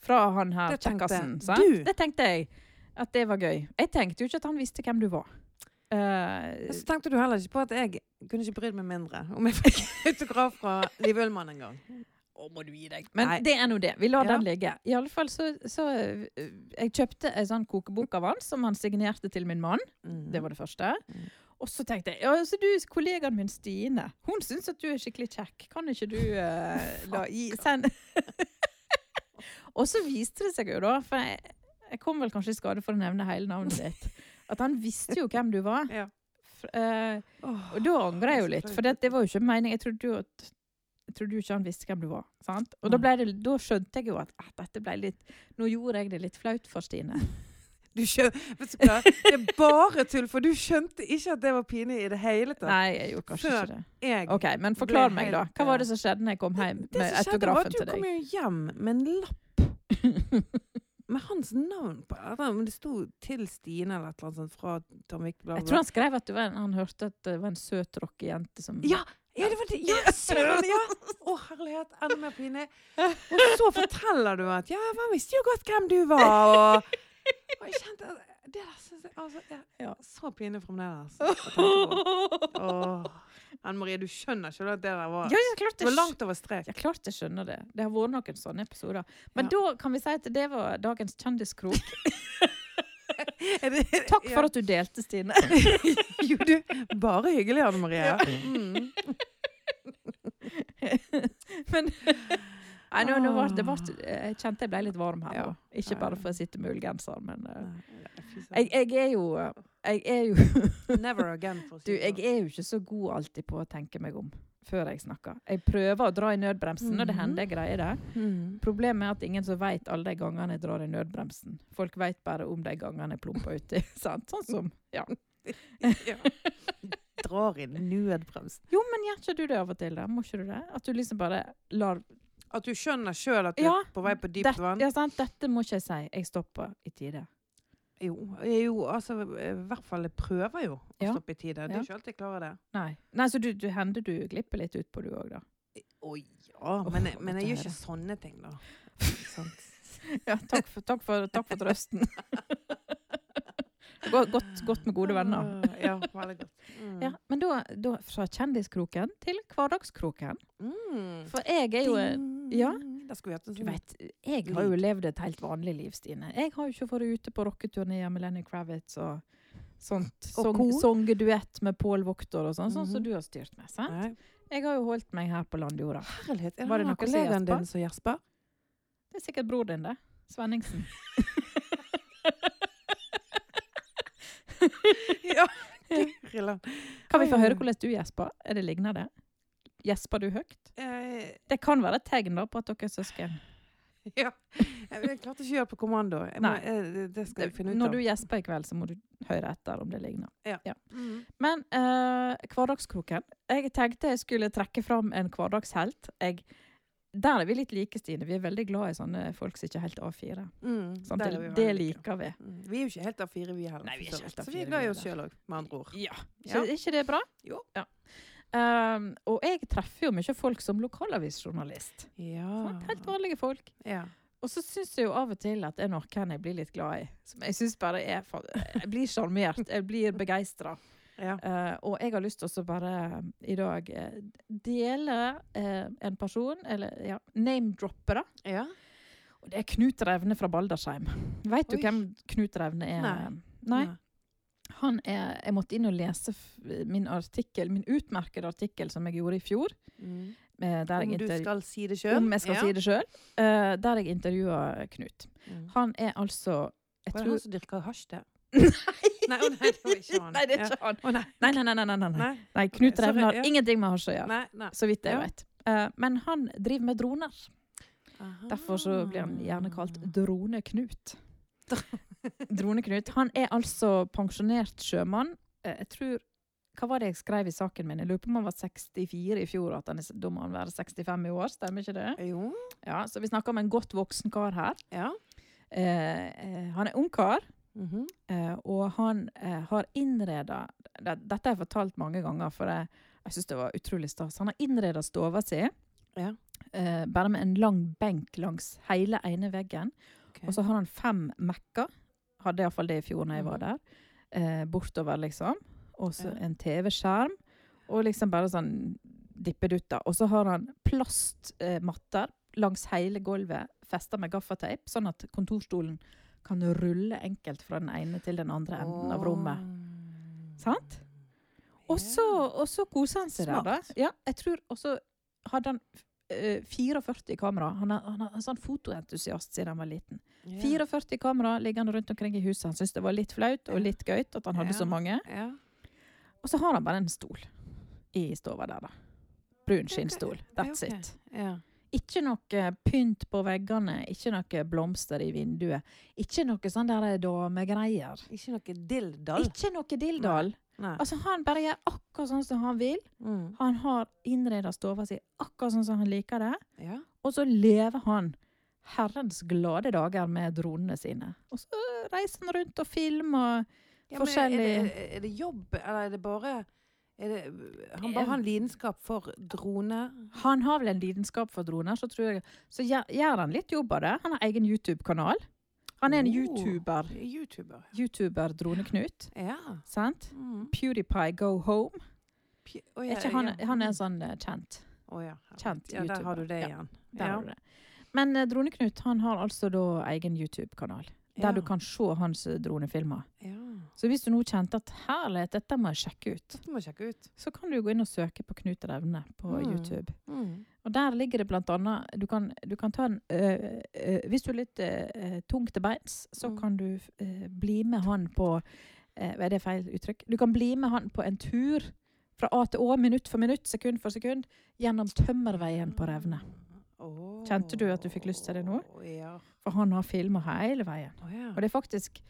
fra han her
Det tenkte
kjekkasen.
du.
sant? Det tenkte jeg. At det var gøy. Jeg tenkte jo ikke at han visste hvem du var. Eh,
Så tenkte du heller ikke på at jeg kunne ikke brydd meg mindre om jeg fikk autograf fra Liv Ullmann en gang.
Å, må du gi deg. Men
Nei.
det er nå det. Vi lar
Ja.
den ligge. I alle fall så, så eh, Jeg kjøpte en sånn kokebok av han som han signerte til min mann.
Mm.
Det var det første.
Mm.
Og så tenkte jeg ja, så du, kollegaen min Stine, hun syns at du er skikkelig kjekk. Kan ikke du eh, la i send Og så viste det seg jo, da, for jeg, jeg kom vel kanskje i skade for å nevne hele navnet ditt, at han visste jo hvem du var.
Ja.
F- eh,
Åh,
og da angrer jeg jo
så
litt,
flaut.
for det, det var jo ikke meningen. Jeg trodde jo at jeg trodde jo ikke han visste hvem du var. sant? Og da, ble det, da skjønte jeg jo at, at dette ble litt Nå gjorde jeg det litt flaut for Stine.
Du skjøn... Vet du hva? Det er bare tull, for du skjønte ikke at det var pinlig i det hele tatt.
Nei, jeg gjorde kanskje
Før
ikke det.
Jeg,
OK, men forklar
ble
meg, da.
helt,
Hva var det som skjedde når jeg kom hjem
det
med
som skjedde var
autografen
at du
til
kom
deg?
jo hjem med en lapp med hans navn på. eller om Det sto 'til Stine' eller et eller annet sånt fra Tom Vik. bla,
Jeg
bla.
tror han skrev at det var en, han hørte at det var en søt rockejente som
Ja, ja, det var det. Ja, søren, ja. Å, herlighet. Enda mer pinlig. Og så forteller du at 'ja, man visste jo godt hvem du var', og, og jeg kjente at Det der synes jeg altså, er
Ja.
så pinlig fremdeles. å tenke på. Åh. Anne Marie, du skjønner ikke at det der var
Ja, ja, klart
Det var
jeg,
langt over strek.
ja, klart jeg skjønner det. Det har vært noen sånne episoder. Men
Ja.
da kan vi si at det var dagens kjendiskrok.
Er det-
Takk
Ja.
for at du delte, Stine.
Jo, du. Bare hyggelig, Anne Marie. Mm.
Men Nei, nå, nå var, det var,
Ah.
jeg kjente jeg ble litt varm her.
Ja.
nå. Ikke
Ja,
bare
ja.
for å sitte med ullgenser, men eh,
Jeg,
jeg, jeg er jo eh, Jeg er jo
never again. For å si
Du, jeg
det.
er jo ikke så god alltid på å tenke meg om før jeg snakker. Jeg prøver å dra i nødbremsen, og det
Mhm.
hender jeg greier det.
Mm.
Problemet er at ingen så veit alle de gangene jeg drar i nødbremsen. Folk veit bare om de gangene jeg plumper uti. sant? Sånn som Ja.
Ja. Drar i nødbremsen.
Jo, men gjør ikke du det av og til, da? Må ikke du det? At du liksom bare lar
At du skjønner sjøl at du
Ja,
er på vei på dypt
Dette-
vann?
Ja, sant? Dette må ikke jeg si. Jeg stopper i tide.
Jo, jo, altså i hvert fall jeg prøver jo å
Ja.
stoppe i tide. Det
Ja.
er ikke alltid jeg klarer det.
Nei. Nei, så du, du hender du glipper litt utpå, du òg, da.
Å ja, men jeg, men
dette
jeg gjør
her.
ikke sånne ting, da. Sant.
Ja, takk for, takk for, takk for trøsten. Gå- Godt, godt med gode venner.
Ah, Ja, veldig godt. Mm.
Ja, men da, da fra kjendiskroken til hverdagskroken.
Mm.
For jeg er jo eh,
Ding.
ja.
Da skulle vi hatt en
Du
sånn
vet, jeg har jo levd et helt vanlig liv, Stine. Jeg har jo ikke vært ute på rocketurné med Lenny Kravitz og sånt.
Og
Song,
kor.
Songduett med Pål Voktor og sånn, sånn som
Mhm.
du har styrt med. sant?
Nei.
Jeg har jo holdt meg her på landjorda.
Herlighet, er
Var
det
det
noen
noe som
kollegaen
gjesper?
din som gjesper?
Det er sikkert bror din, det. Svenningsen.
Ja, Grillan.
Kan vi få
Oi.
høre hvordan du gjesper? Er det lignende? Gjesper du høyt?
Eh,
Det kan være et tegn da på at dere er søsken.
ja. Jeg jeg klarte ikke å gjøre det på kommando. Jeg må,
Nei.
eh, det- det skal jeg finne ut
Når
av.
du gjesper i kveld, så må du høre etter om det ligner.
Mm.
Men eh, hverdagskroken Jeg tenkte jeg skulle trekke fram en hverdagshelt. Jeg, der er vi litt like, Stine. Vi er veldig glad i sånne folk som ikke er helt A4.
Mm,
Sant?
der er
Det,
vi
det
veldig like.
liker vi.
Mm. Vi er jo ikke helt av fire, vi heller.
Nei, vi er
for så
ikke
vidt.
helt av
Så vi
fire,
er glad
vi
i
er
oss
det.
sjøl òg, med andre ord.
Ja.
Ja.
Så er ikke det bra?
Jo.
Ja. Ehm, og jeg treffer jo mye folk som lokalavisjournalist.
Ja.
Sant? Helt vanlige folk.
Ja.
Og så syns jeg jo av og til at det er noen jeg blir litt glad i. Som jeg syns bare er fa- Jeg blir sjarmert. Jeg blir begeistra.
Ja.
Eh, og jeg har lyst til å bare eh, i dag eh, dele eh, en person, eller ja, name-droppe, da.
ja.
Og det er Knut Revne fra Baldersheim. Veit du
Oi.
hvem Knut Revne er?
Nei.
Nei? Han er Jeg måtte inn og lese f- min artikkel, min utmerkede artikkel som jeg gjorde i fjor.
Mm.
eh, der
Om
jeg
du
intervju-
skal si det sjøl?
Om jeg skal si det sjøl. der jeg intervjua Knut.
Mm.
Han er altså jeg
Var det
tror,
han som dyrka hasj, det?
Nei!
Nei, å nei, det var ikke han.
Nei, det er ikke han.
Å nei.
Nei, nei, nei. nei, nei, nei. nei.
Nei.
Knut
sorry,
Revne har
ja.
ingenting med hasj å gjøre,
nei, nei.
så vidt jeg
Ja.
vet. Eh, men han driver med droner.
Aha.
Derfor så blir han gjerne
Ah.
kalt Drone-Knut. Drone-Knut. Han er altså pensjonert sjømann. Eh, Jeg tror Hva var det jeg skrev i saken min? Jeg lurer på om han var 64 i fjor, og at han er, da må han være 65 i år. Stemmer ikke det?
Jo.
Ja, Så vi snakker om en godt voksen kar her.
Ja.
Eh, eh, han er ungkar.
Mhm.
Eh, og han eh, har innreda det, Dette har jeg fortalt mange ganger, for jeg, jeg syns det var utrolig stas. Han har innreda stova si
Ja.
eh, bare med en lang benk langs hele ene veggen.
Ok.
Og så har han fem Mac-er. Hadde iallfall det i fjor da jeg var der. Eh, bortover, liksom. Og så
Mm. Ja.
en TV-skjerm. Og liksom bare sånn dippedutter. Og så har han plastmatter eh, matter langs hele gulvet festa med gaffateip, sånn at kontorstolen kan rulle enkelt fra den ene til den andre enden av rommet.
Åh.
Sant? Og så, og så koser han seg der,
Smart.
da. Ja, jeg tror, og så hadde han eh, 44 kamera. Han er, han er en sånn fotoentusiast siden han var liten.
Ja.
44 kamera liggende rundt omkring i huset. Han syntes det var litt flaut og litt gøyt at han hadde
Ja.
så mange.
Ja.
Og så har han bare en stol i stua der, da. Brun skinnstol. That's
ok.
it.
ja.
Ikke noe pynt på veggene, ikke noe blomster i vinduet. Ikke noe sånn der damegreier.
Ikke noe dilldall.
Ikke noe dilldall.
Nei.
Altså, han bare gjør akkurat sånn som han vil.
Mm.
Han har innreda stua si akkurat sånn som han liker det.
Ja.
Og så lever han herrens glade dager med dronene sine. Og så reiser han rundt og filmer.
Ja, men Er
Forskjellig-
det, er det jobb, eller er det bare er det, Han
Jeg-
bare har en lidenskap for droner.
Han har vel en lidenskap for droner, så tror jeg Så gjør, gjør han litt jobb av det. Han har egen YouTube-kanal. Han er en
Oh.
YouTuber.
Youtuber.
YouTuber Drone-Knut.
Ja.
Sant?
Mm.
PewDiePie Go Home.
Pi- Å, ja,
Er ikke han,
ja.
han er sånn eh, kjent.
Å, ja.
kjent
ja, der har du
YouTuber.
det
Ja,
igjen.
Der har du det. Men eh, Drone-Knut han har altså da egen YouTube-kanal. Der
Ja.
du kan se hans eh, dronefilmer.
ja.
Så hvis du nå kjente at herlighet, dette må jeg sjekke ut,
Dette må jeg sjekke ut.
så kan du gå inn og søke på Knut Revne på
Mm.
YouTube.
Mm.
Og der ligger det blant annet Du kan, du kan ta en øh, øh, Hvis du er litt øh, øh, tung til beins, så
Mm.
kan du øh, bli med han på øh, Er det feil uttrykk? Du kan bli med han på en tur fra A til Å, minutt for minutt, sekund for sekund, gjennom Tømmerveien på Revne.
Mm. Åh.
Kjente du at du fikk lyst til det nå?
Ja.
For han har filma hele veien.
Å, ja.
Og det er faktisk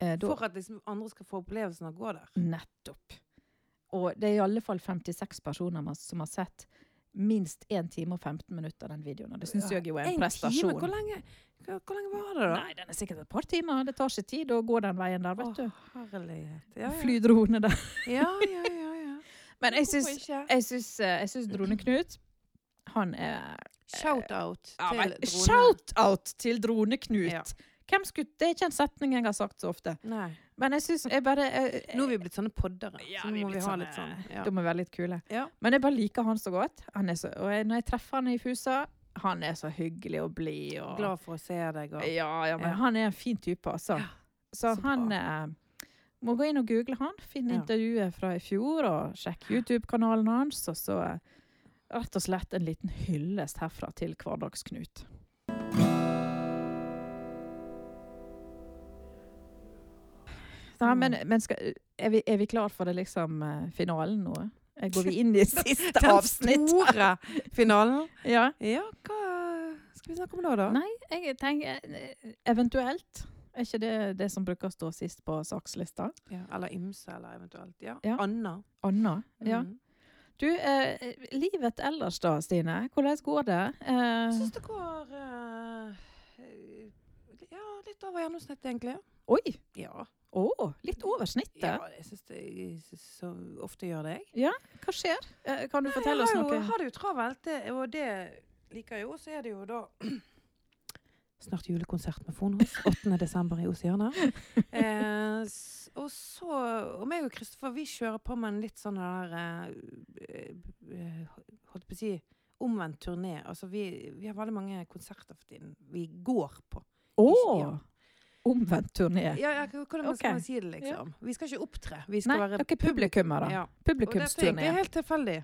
eh, da, Mm,
For at liksom andre skal få opplevelsen av å gå der.
Nettopp. Og det er i alle fall 56 personer mas- som har sett minst 1 time og 15 minutter av den videoen. Og det syns
Ja,
jeg jo er en,
En
prestasjon.
Time. Hvor, lenge, hvor, hvor lenge var det, da?
Nei, den er sikkert et par timer. Det tar ikke tid å gå den veien der, vet
Å,
du.
herlighet. Ja, ja.
Fly drone der.
ja, ja, ja, ja.
Men jeg
Hvorfor
syns,
ikke?
jeg syns, eh, jeg syns Drone-Knut han er
Shout-out
Ja,
til
men
droner.
Shout-out til Drone-Knut!
Ja.
Hvem skulle Det er ikke en setning jeg har sagt så ofte.
Nei.
Men jeg syns jeg bare eh, jeg, jeg,
Nå er vi blitt sånne poddere,
Ja,
så nå
vi er
må Eh, vi
blitt
ha
sånne-
litt sånn. Ja.
Da må vi være litt kule.
Ja.
Men jeg bare liker han så godt. Han er så, og jeg, når jeg treffer han i Fusa, han er så hyggelig og blid. Og,
Glad for å se deg. Og.
Ja, ja, men
Ja.
Eh, han er en fin type, altså.
Ja,
Så,
så
han
bra.
eh, må gå inn og google han. Finn
Ja.
intervjuet fra i fjor, og sjekk YouTube-kanalen hans. Og så eh, rett og slett en liten hyllest herfra til Hverdagsknut. Nei, men, men skal, er, vi, er vi klar for det liksom eh, finalen nå? Eh, Går vi inn i siste
Den
avsnitt?
store finalen.
Ja.
Ja, hva skal vi snakke om da, da?
Nei, jeg tenker eh, eventuelt. Er ikke det det som bruker å stå sist på sakslista?
Ja, eller ymse, eller eventuelt. Ja.
Ja.
Anna.
Anna? Ja.
Mm.
Du, eh, livet ellers da, Stine. Hvordan går det?
Jeg
Eh,
syns det går eh, Ja, litt over gjennomsnittet, egentlig.
oi!
Ja.
Å, litt over
ja
snittet.
jeg syns det jeg synes så ofte gjør det, jeg.
Hva skjer? Eh, kan du
Nei,
fortelle oss
jeg har
noe?
Jo, har det jo travelt, det, og det liker jeg jo. Så er det jo da Snart julekonsert med Fonhos. 8. desember i Oseana. Eh, s- og så Og meg og Kristoffer, vi kjører på med en litt sånn der eh, eh, Holdt på å si omvendt turné. Altså vi, vi har veldig mange konserter for tiden vi går på.
Å!
Ja.
Omvendt turné.
Ja, ja, hvordan man
Ok.
skal man si det, liksom? Vi skal ikke opptre. Vi skal
Nei,
være
dere er publikummere.
ja. Og dette er
Publikumsturné.
egentlig helt tilfeldig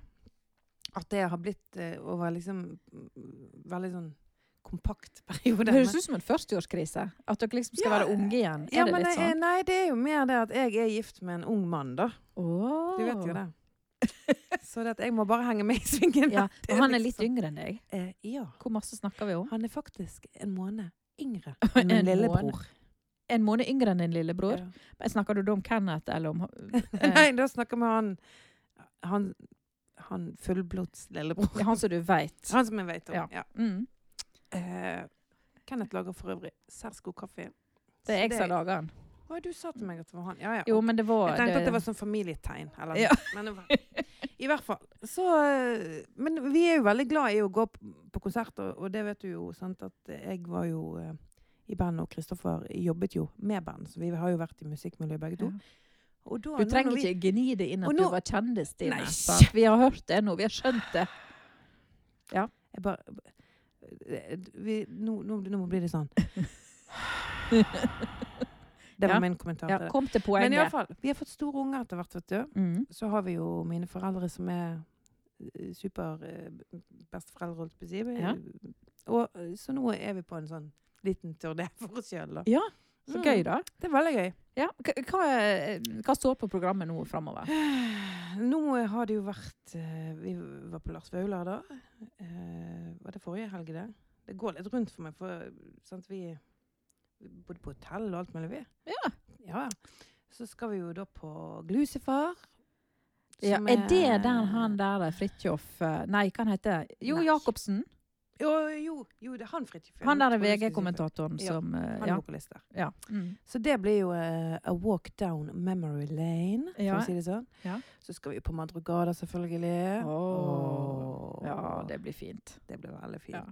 at det har blitt eh, over liksom mm, veldig sånn kompakt periode.
Det høres
Men-
ut som en førsteårskrise. At dere liksom skal
Ja,
være unge igjen. Er
ja,
det
men
litt
jeg,
sånn?
Nei, det er jo mer det at jeg er gift med en ung mann, da.
Åh.
Du vet jo det. Så det at jeg må bare henge med i svingen.
Ja,
Det er
og han er
liksom
litt yngre enn deg.
Eh, ja.
Hvor masse snakker vi om?
Han er faktisk en måned yngre enn min
En
lillebror.
En måned yngre enn din lillebror.
Ja.
Men Snakker du da om Kenneth, eller om eh,
Nei, da snakker vi om han Han, han fullblods lillebror.
han som du veit?
Han som jeg vet om.
Ja.
Ja.
Mm.
Eh, Kenneth lager for øvrig særs god kaffe.
Det er jeg som
lager.
lager han.
Å, du sa til meg at det var han. Ja, ja.
Jo, men det var
jeg tenkte at sånn,
det-
det var sånn familietegn. Eller,
Ja.
noe. men det var. I hvert fall. Så, eh, men vi er jo veldig glad i å gå p- på konserter, og det vet du jo, sant, at jeg var jo eh, i band, og Kristoffer jobbet jo med band, så vi har jo vært i musikkmiljøet begge to.
Ja.
Og da,
Du
nå når
trenger
vi-
ikke gni det inn at
Og
du
nå-
var kjendis, Stine.
Nei,
sant? Vi har hørt det nå. Vi har skjønt det.
Jeg bare eh, vi, nå, nå, nå blir det sånn. Det var
Ja.
min kommentar
Ja,
til det.
kom til
Men
poenget.
iallfall, vi har fått store unger etter hvert, vet du.
Mm.
så har vi jo mine foreldre som er eh, super eh, besteforeldre, holdt jeg på å si.
Ja.
Og, eh, så nå er vi på en sånn liten turné for oss sjøl, da.
Ja, Så
Mm.
gøy, da.
Det er veldig gøy.
Ja. Hva, hva- hva står på programmet nå framover?
Nå eh, har det jo vært eh, Vi var på Lars Vaular da. Eh, Var det forrige helg, det? Det går litt rundt for meg, for eh, sant, vi, vi bodde på hotell og alt mulig, vi.
Ja.
Ja. Så skal vi jo da på Glusefar.
Ja,
som
er det den han der eh, Fridtjof eh, Nei, hva han heter Jo,
Nei.
Jacobsen.
Jo, jo, jo, det er han Fridtjof.
Han der er
Tror jeg skulle si Fridtjof.
VG-kommentatoren
Ja,
som eh,
Han er
Ja.
vokalist der.
ja. Mm.
Så det blir jo eh, A Walk Down Memory Lane, for
Ja.
å si det sånn.
Ja.
Så skal vi på Madrugada,
Åh.
selvfølgelig. Åh.
Mm. ja, det blir fint.
det blir veldig fint.
Ja.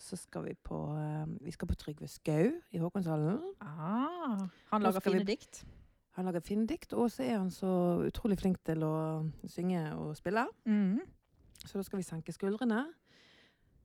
Så skal vi på eh, Vi skal på Trygve Skau i Håkonshallen.
Ah, han
Nå
lager
skal vi-
fine dikt.
Han lager fine dikt, og så er han så utrolig flink til å synge og spille.
Mm.
Så da skal vi senke skuldrene.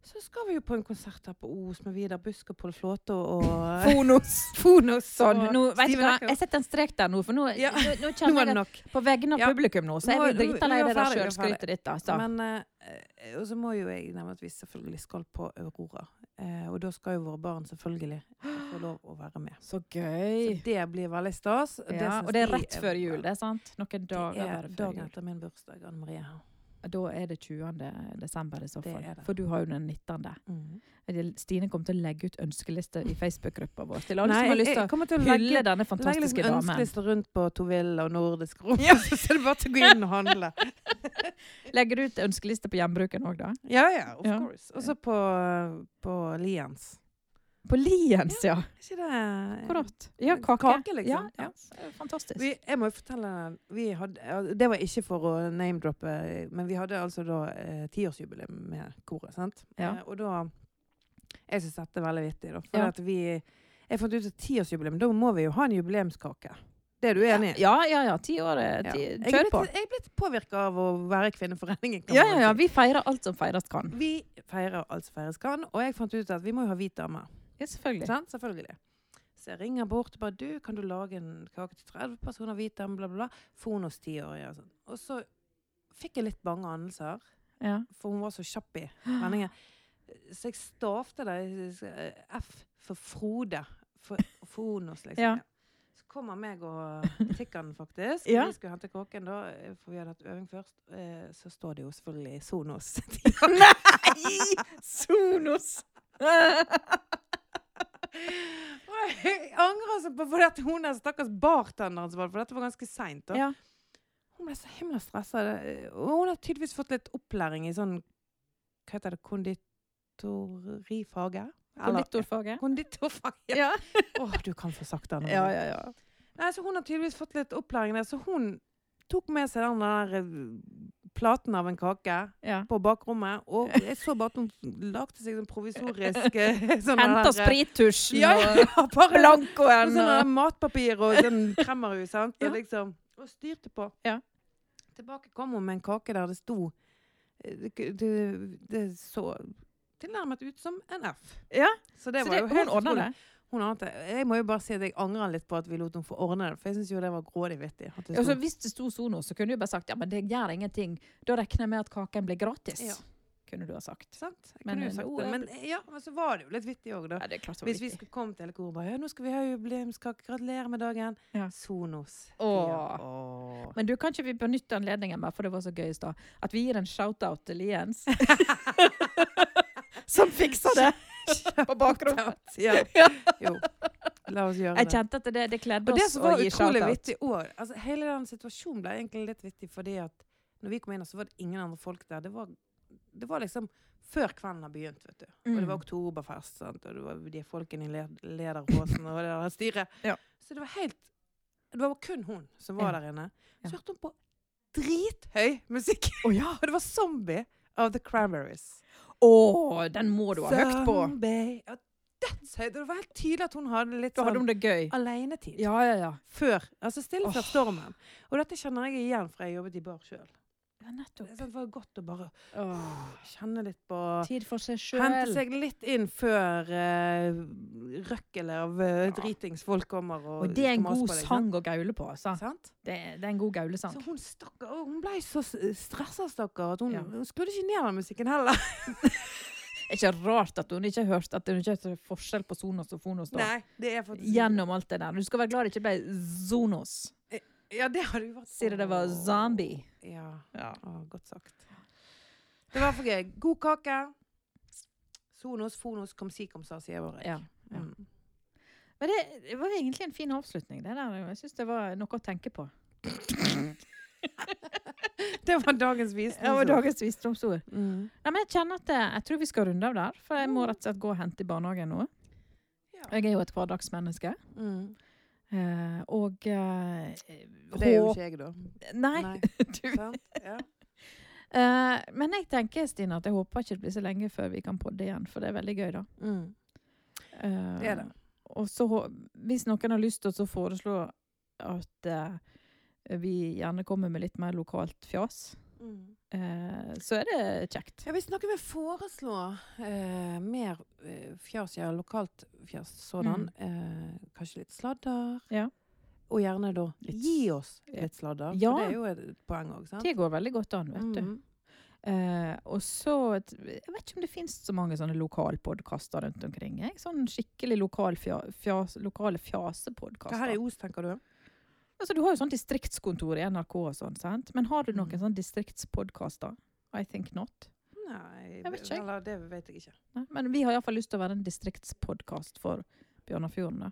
Så skal vi jo på en konsert her på Os med Vidar Busk og Pål Flåte og
Fonos!
Fonos
Sånn, nå, vet du
Steven
hva?
Echo.
Jeg setter en strek der nå, for nå,
Ja.
nå, nå
Nå
kjenner
var
jeg
det
at
nok.
på vegne av
Ja.
publikum nå, så
Nå-
jeg blir drita
nå-
lei
nå er
det der
ferdig, nå er
sjølskrytet ditt. da. Så.
Men, eh, og så må jo jeg nevne at vi selvfølgelig skal på Aurora. Eh, og da skal jo våre barn selvfølgelig få lov å være med.
Så
Så
gøy!
det blir veldig stas.
Ja,
syns
og det er
de
rett før jul, det er sant? Noen
Det
dager
er
bare før
dagen
jul.
etter min bursdag, Anne Marie. her.
Da er det 20. desember i så
Det
fall.
er det.
For du har jo den 19.
Mm.
Eller Stine kommer til å legge ut ønskelister i Facebook-gruppa vår til alle
Nei,
som har
jeg,
lyst til
jeg kommer til å
å
legge,
hylle denne
legge
fantastiske
liksom
damen.
ønskeliste rundt på Tovilla og Nordisk Rom. Så er det bare til å gå inn og handle.
Legger du ut ønskeliste på hjembruken òg, da?
Ja, ja, of
Ja.
course. Og så på, på Liens.
På Liens, ja!
Er ikke det
Akkurat. Ja, kake.
Kake, liksom.
Ja, ja.
Ja.
Det er Fantastisk.
Vi, jeg må jo fortelle vi hadde, ja, Det var ikke for å name-droppe, men vi hadde altså da eh, tiårsjubileum med koret. sant?
Ja.
Eh, og da Jeg syns dette er veldig vittig. da, for
Ja.
at vi, Jeg fant ut at tiårsjubileum, da må vi jo ha en jubileumskake. Det er du enig i?
Ja, ja, ja. Ti år. eh,
Ja.
Ti,
Jeg er
Kjør på.
blitt- Jeg er blitt påvirka av å være i Kvinneforeningen. kan
Ja,
man
ja, ja.
si.
Vi feirer alt som feires kan.
Vi feirer alt som feires kan, og jeg fant ut at vi må jo ha hvit dame.
Ja, selvfølgelig.
Sant? Selvfølgelig. Så jeg ringer bort og bare du, kan du lage en kake til 30 personer, hvit dame, bla, bla, bla. Fonos 10-årige og sånn. Og så fikk jeg litt bange anelser,
Ja.
for hun var så kjapp i vendingen. Så jeg stavte det eh, F for Frode. For Fonos, liksom.
Ja.
Så kommer meg og butikkene, faktisk.
Ja.
Vi skulle hente kåken da, eh, for vi hadde hatt øving først. Eh, Så står det jo selvfølgelig Sonos.
Nei! Sonos!
Og jeg angrer altså på for at hun der stakkars bartenderen som var det, for dette var ganske seint.
ja.
Hun ble så himla stressa. det- Og hun har tydeligvis fått litt opplæring i sånn Hva heter det? Konditorifaget? Eller-
Konditorfaget.
Konditorfaget.
Ja.
Å, du kan få sagt det. Anne
ja,
Marie.
ja, ja.
Nei, så hun har tydeligvis fått litt opplæring der, så hun tok med seg den der eh, platen av en kake
ja.
på bakrommet, og jeg så bare at hun lagde seg sånn provisorisk eh, sånn
Henta
der, eh,
sprittusjen
ja,
og eh,
ja, bare sånn- Og
blankoen
sånn
og
der matpapir og sånn kremmerhus, sant?
Ja.
Og liksom, og styrte på.
Ja.
Tilbake kom hun med en kake der det sto eh, Det, k- det, det så tilnærmet ut som en F.
Ja,
Så det
Så
var
det,
jo
hun
helt
ordner det.
utrolig. Hun ordnet det. Jeg må jo bare si at jeg angrer litt på at vi lot henne få ordne det, for jeg syns jo det var grådig vittig. At det
Altså,
sto-
hvis det sto Sonos, så kunne du bare sagt ja, men det gjør ingenting. Da regner jeg med at kaken blir gratis.
Ja.
Kunne du ha sagt.
sant? Jeg
Men,
kunne jo
eh,
sagt
nå
det.
er
Men ja, men så var det jo litt vittig òg, da.
Ja, det er klart det var
Hvis vi
viktig.
skulle kommet til hele koret og bare ja, 'Nå skal vi ha jubileumskake. Gratulerer med dagen.'
Ja.
Sonos.
Åh.
Åh.
Men du kan ikke vi benytte anledningen bare, for det var så gøy i stad, at vi gir en shout-out til Liens. Som fikser det på bakrommet.
Ja. Jo. La oss gjøre
Jeg
det.
kjente at det, det kledde
Og det
oss
som
å
var
gi
utrolig
shout-out.
vittig òg altså, Hele den situasjonen ble egentlig litt vittig fordi at når vi kom inn, så var det ingen andre folk der. Det var, det var liksom før kvelden har begynt, vet du. Og det var
Mm.
oktoberfest, sant? og det var de folkene i led Lederåsen og det der styret.
Ja.
Så det var helt Det var kun hun som var
Ja.
der inne.
Ja.
Så hørte hun på drithøy musikk.
Å ja!
Og det var 'Zombie' av The Cranberries.
Å, den må du ha høyt på!
Zombie. Ja, dødshøyt. Og det var helt tydelig at hun hadde litt
Da hadde
sånn
hun det gøy.
alenetid.
Ja, ja, ja.
Før. Altså stille før
Åh.
stormen. Og dette kjenner jeg igjen fra jeg jobbet i bar sjøl.
ja nettopp.
Det var godt å bare
Åh,
kjenne litt på
tid for seg
Hente
sjøl.
seg litt inn før uh, røkkelet av eh,
Ja.
dritingsfolk kommer. Og,
Og det er en
skal mase
god
på deg,
sang å gaule på, altså.
Sant? sant?
Det, det er en god gaulesang.
Så hun, stakkar, å, hun ble så stressa, stakkar, at hun,
Ja.
hun skrudde ikke ned den musikken heller.
Det er ikke rart at hun ikke har hørt at hun ikke har forskjell på Sonos og Fonos da.
Nei, det er faktisk
Gjennom alt det der. Du skal være glad det ikke ble Zonos,
Ja, det hadde jo vært
siden det var
Åh.
zombie.
Ja.
Ja.
Å, godt sagt. Det var for gøy. God kake. Sonos, fonos, kom si, kom sa, sier vår
Ja,
Erik.
ja.
Mm.
Men det, det var egentlig en fin avslutning. Det der. Jeg syns det var noe å tenke på.
Det var dagens visdom.
Det var dagens visdomsord.
Mm.
Nei, men jeg kjenner at eh, jeg tror vi skal runde av der, for jeg må rett og slett gå og hente i barnehagen nå.
Ja.
Jeg er jo et hverdagsmenneske.
Mm.
eh, Og eh,
For Det er jo
håp-
ikke jeg, da.
Nei. du,
Sant? Ja.
eh, men jeg tenker, Stine, at jeg håper ikke det blir så lenge før vi kan podde igjen, for det er veldig gøy, da.
Mm.
Eh,
Det er det.
Og så, hå- hvis noen har lyst til å så foreslå at eh, vi gjerne kommer med litt mer lokalt fjas,
Mm.
eh, så er det kjekt.
Ja, hvis noen vil foreslå eh, mer eh, fjas, ja, lokalt fjas sådan, eh, kanskje litt sladder,
Mm. Ja.
og gjerne da
Litt-
gi oss litt sladder,
Ja.
for det er jo et et poeng òg, sant?
Det går veldig godt an, vet du.
Mm.
Eh, og så et- Jeg vet ikke om det finnes så mange sånne lokalpodkaster rundt omkring. Jeg. Sånn skikkelig lokal fja, fjas, lokale
Hva her i
fjasepodkaster.
Os, tenker du?
Altså, du har jo sånn distriktskontor i NRK og sånn, sant? Men har du noen
Mm.
sånn distriktspodkaster? I think not.
Nei,
Jeg vet ikke, jeg.
Eller, det vet jeg ikke.
Nei? Men vi har iallfall lyst til å være en distriktspodkast for Bjørnafjorden, da.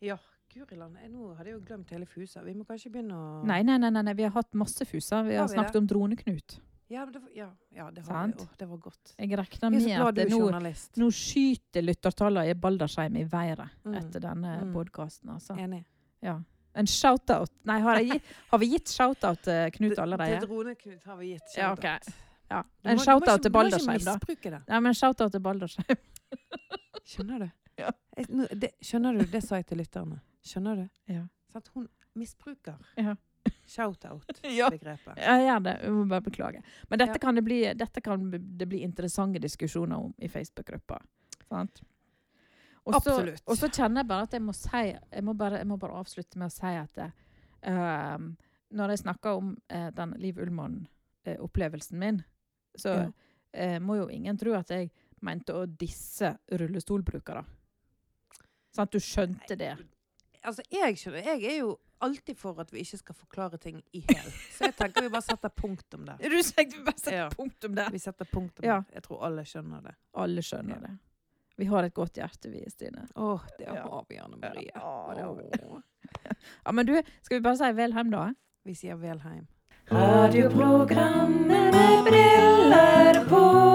Ja, Guriland, jeg- nå hadde jeg jo glemt hele Fusa. Vi må kanskje begynne å
Nei, nei, nei, nei, nei, vi har hatt masse fuser. Vi har,
Har vi
snakket
det?
om Droneknut.
Ja, men det, var- ja, ja, det har vi.
Sant?
Åh, det var godt.
Jeg regner
Jeg er så
med
glad
at
du er
det nå,
journalist.
nå skyter lyttertallene i Baldersheim i været
Mm.
etter denne
Mm.
podkasten, altså.
Enig.
Ja. En shout-out. Nei, har, jeg, gi- har vi gitt shout-out til Knut
Til
allerede?
Drone-Knut har vi gitt.
Ja,
shout-out.
ok. Ja.
Du
En
må- du må
shout-out
ikke-
til Baldersheim, da.
Du må ikke misbruke det.
Ja, men shout-out til Baldersheim.
Skjønner du?
Ja.
Jeg, nå, det, skjønner du? Det sa jeg til lytterne. Skjønner du?
Ja.
Sant? hun misbruker
Ja. Ja.
shout-out-begrepet.
Jeg gjør det. Jeg må bare beklage. Men dette
Ja.
kan det bli, dette kan det bli interessante diskusjoner om i Facebook-gruppa. Sant? Og så-
Absolutt.
Og så kjenner jeg bare at jeg må si Jeg må bare, jeg må bare avslutte med å si at eh, ehm, når jeg snakker om eh, den Liv Ullmann-opplevelsen min, så
Ja.
eh, må jo ingen tro at jeg mente å disse rullestolbrukere. Sånn at du skjønte det.
Altså, jeg skjønner. Jeg er jo alltid for at vi ikke skal forklare ting i hel. Så jeg tenker vi bare setter punktum der.
Er du sikker på best
Ja.
punktum der?
Vi setter punktum
Ja.
der. Jeg tror alle skjønner det.
Alle skjønner
Ja.
det. Vi har et godt hjerte, vi, Stine.
Åh, det
Ja.
har vi, Anne Marie.
Ja, det har vi.
Åh.
Ja, men du, skal vi bare si vel hjem, da?
Vi sier Velheim.
Radioprogrammet med briller på.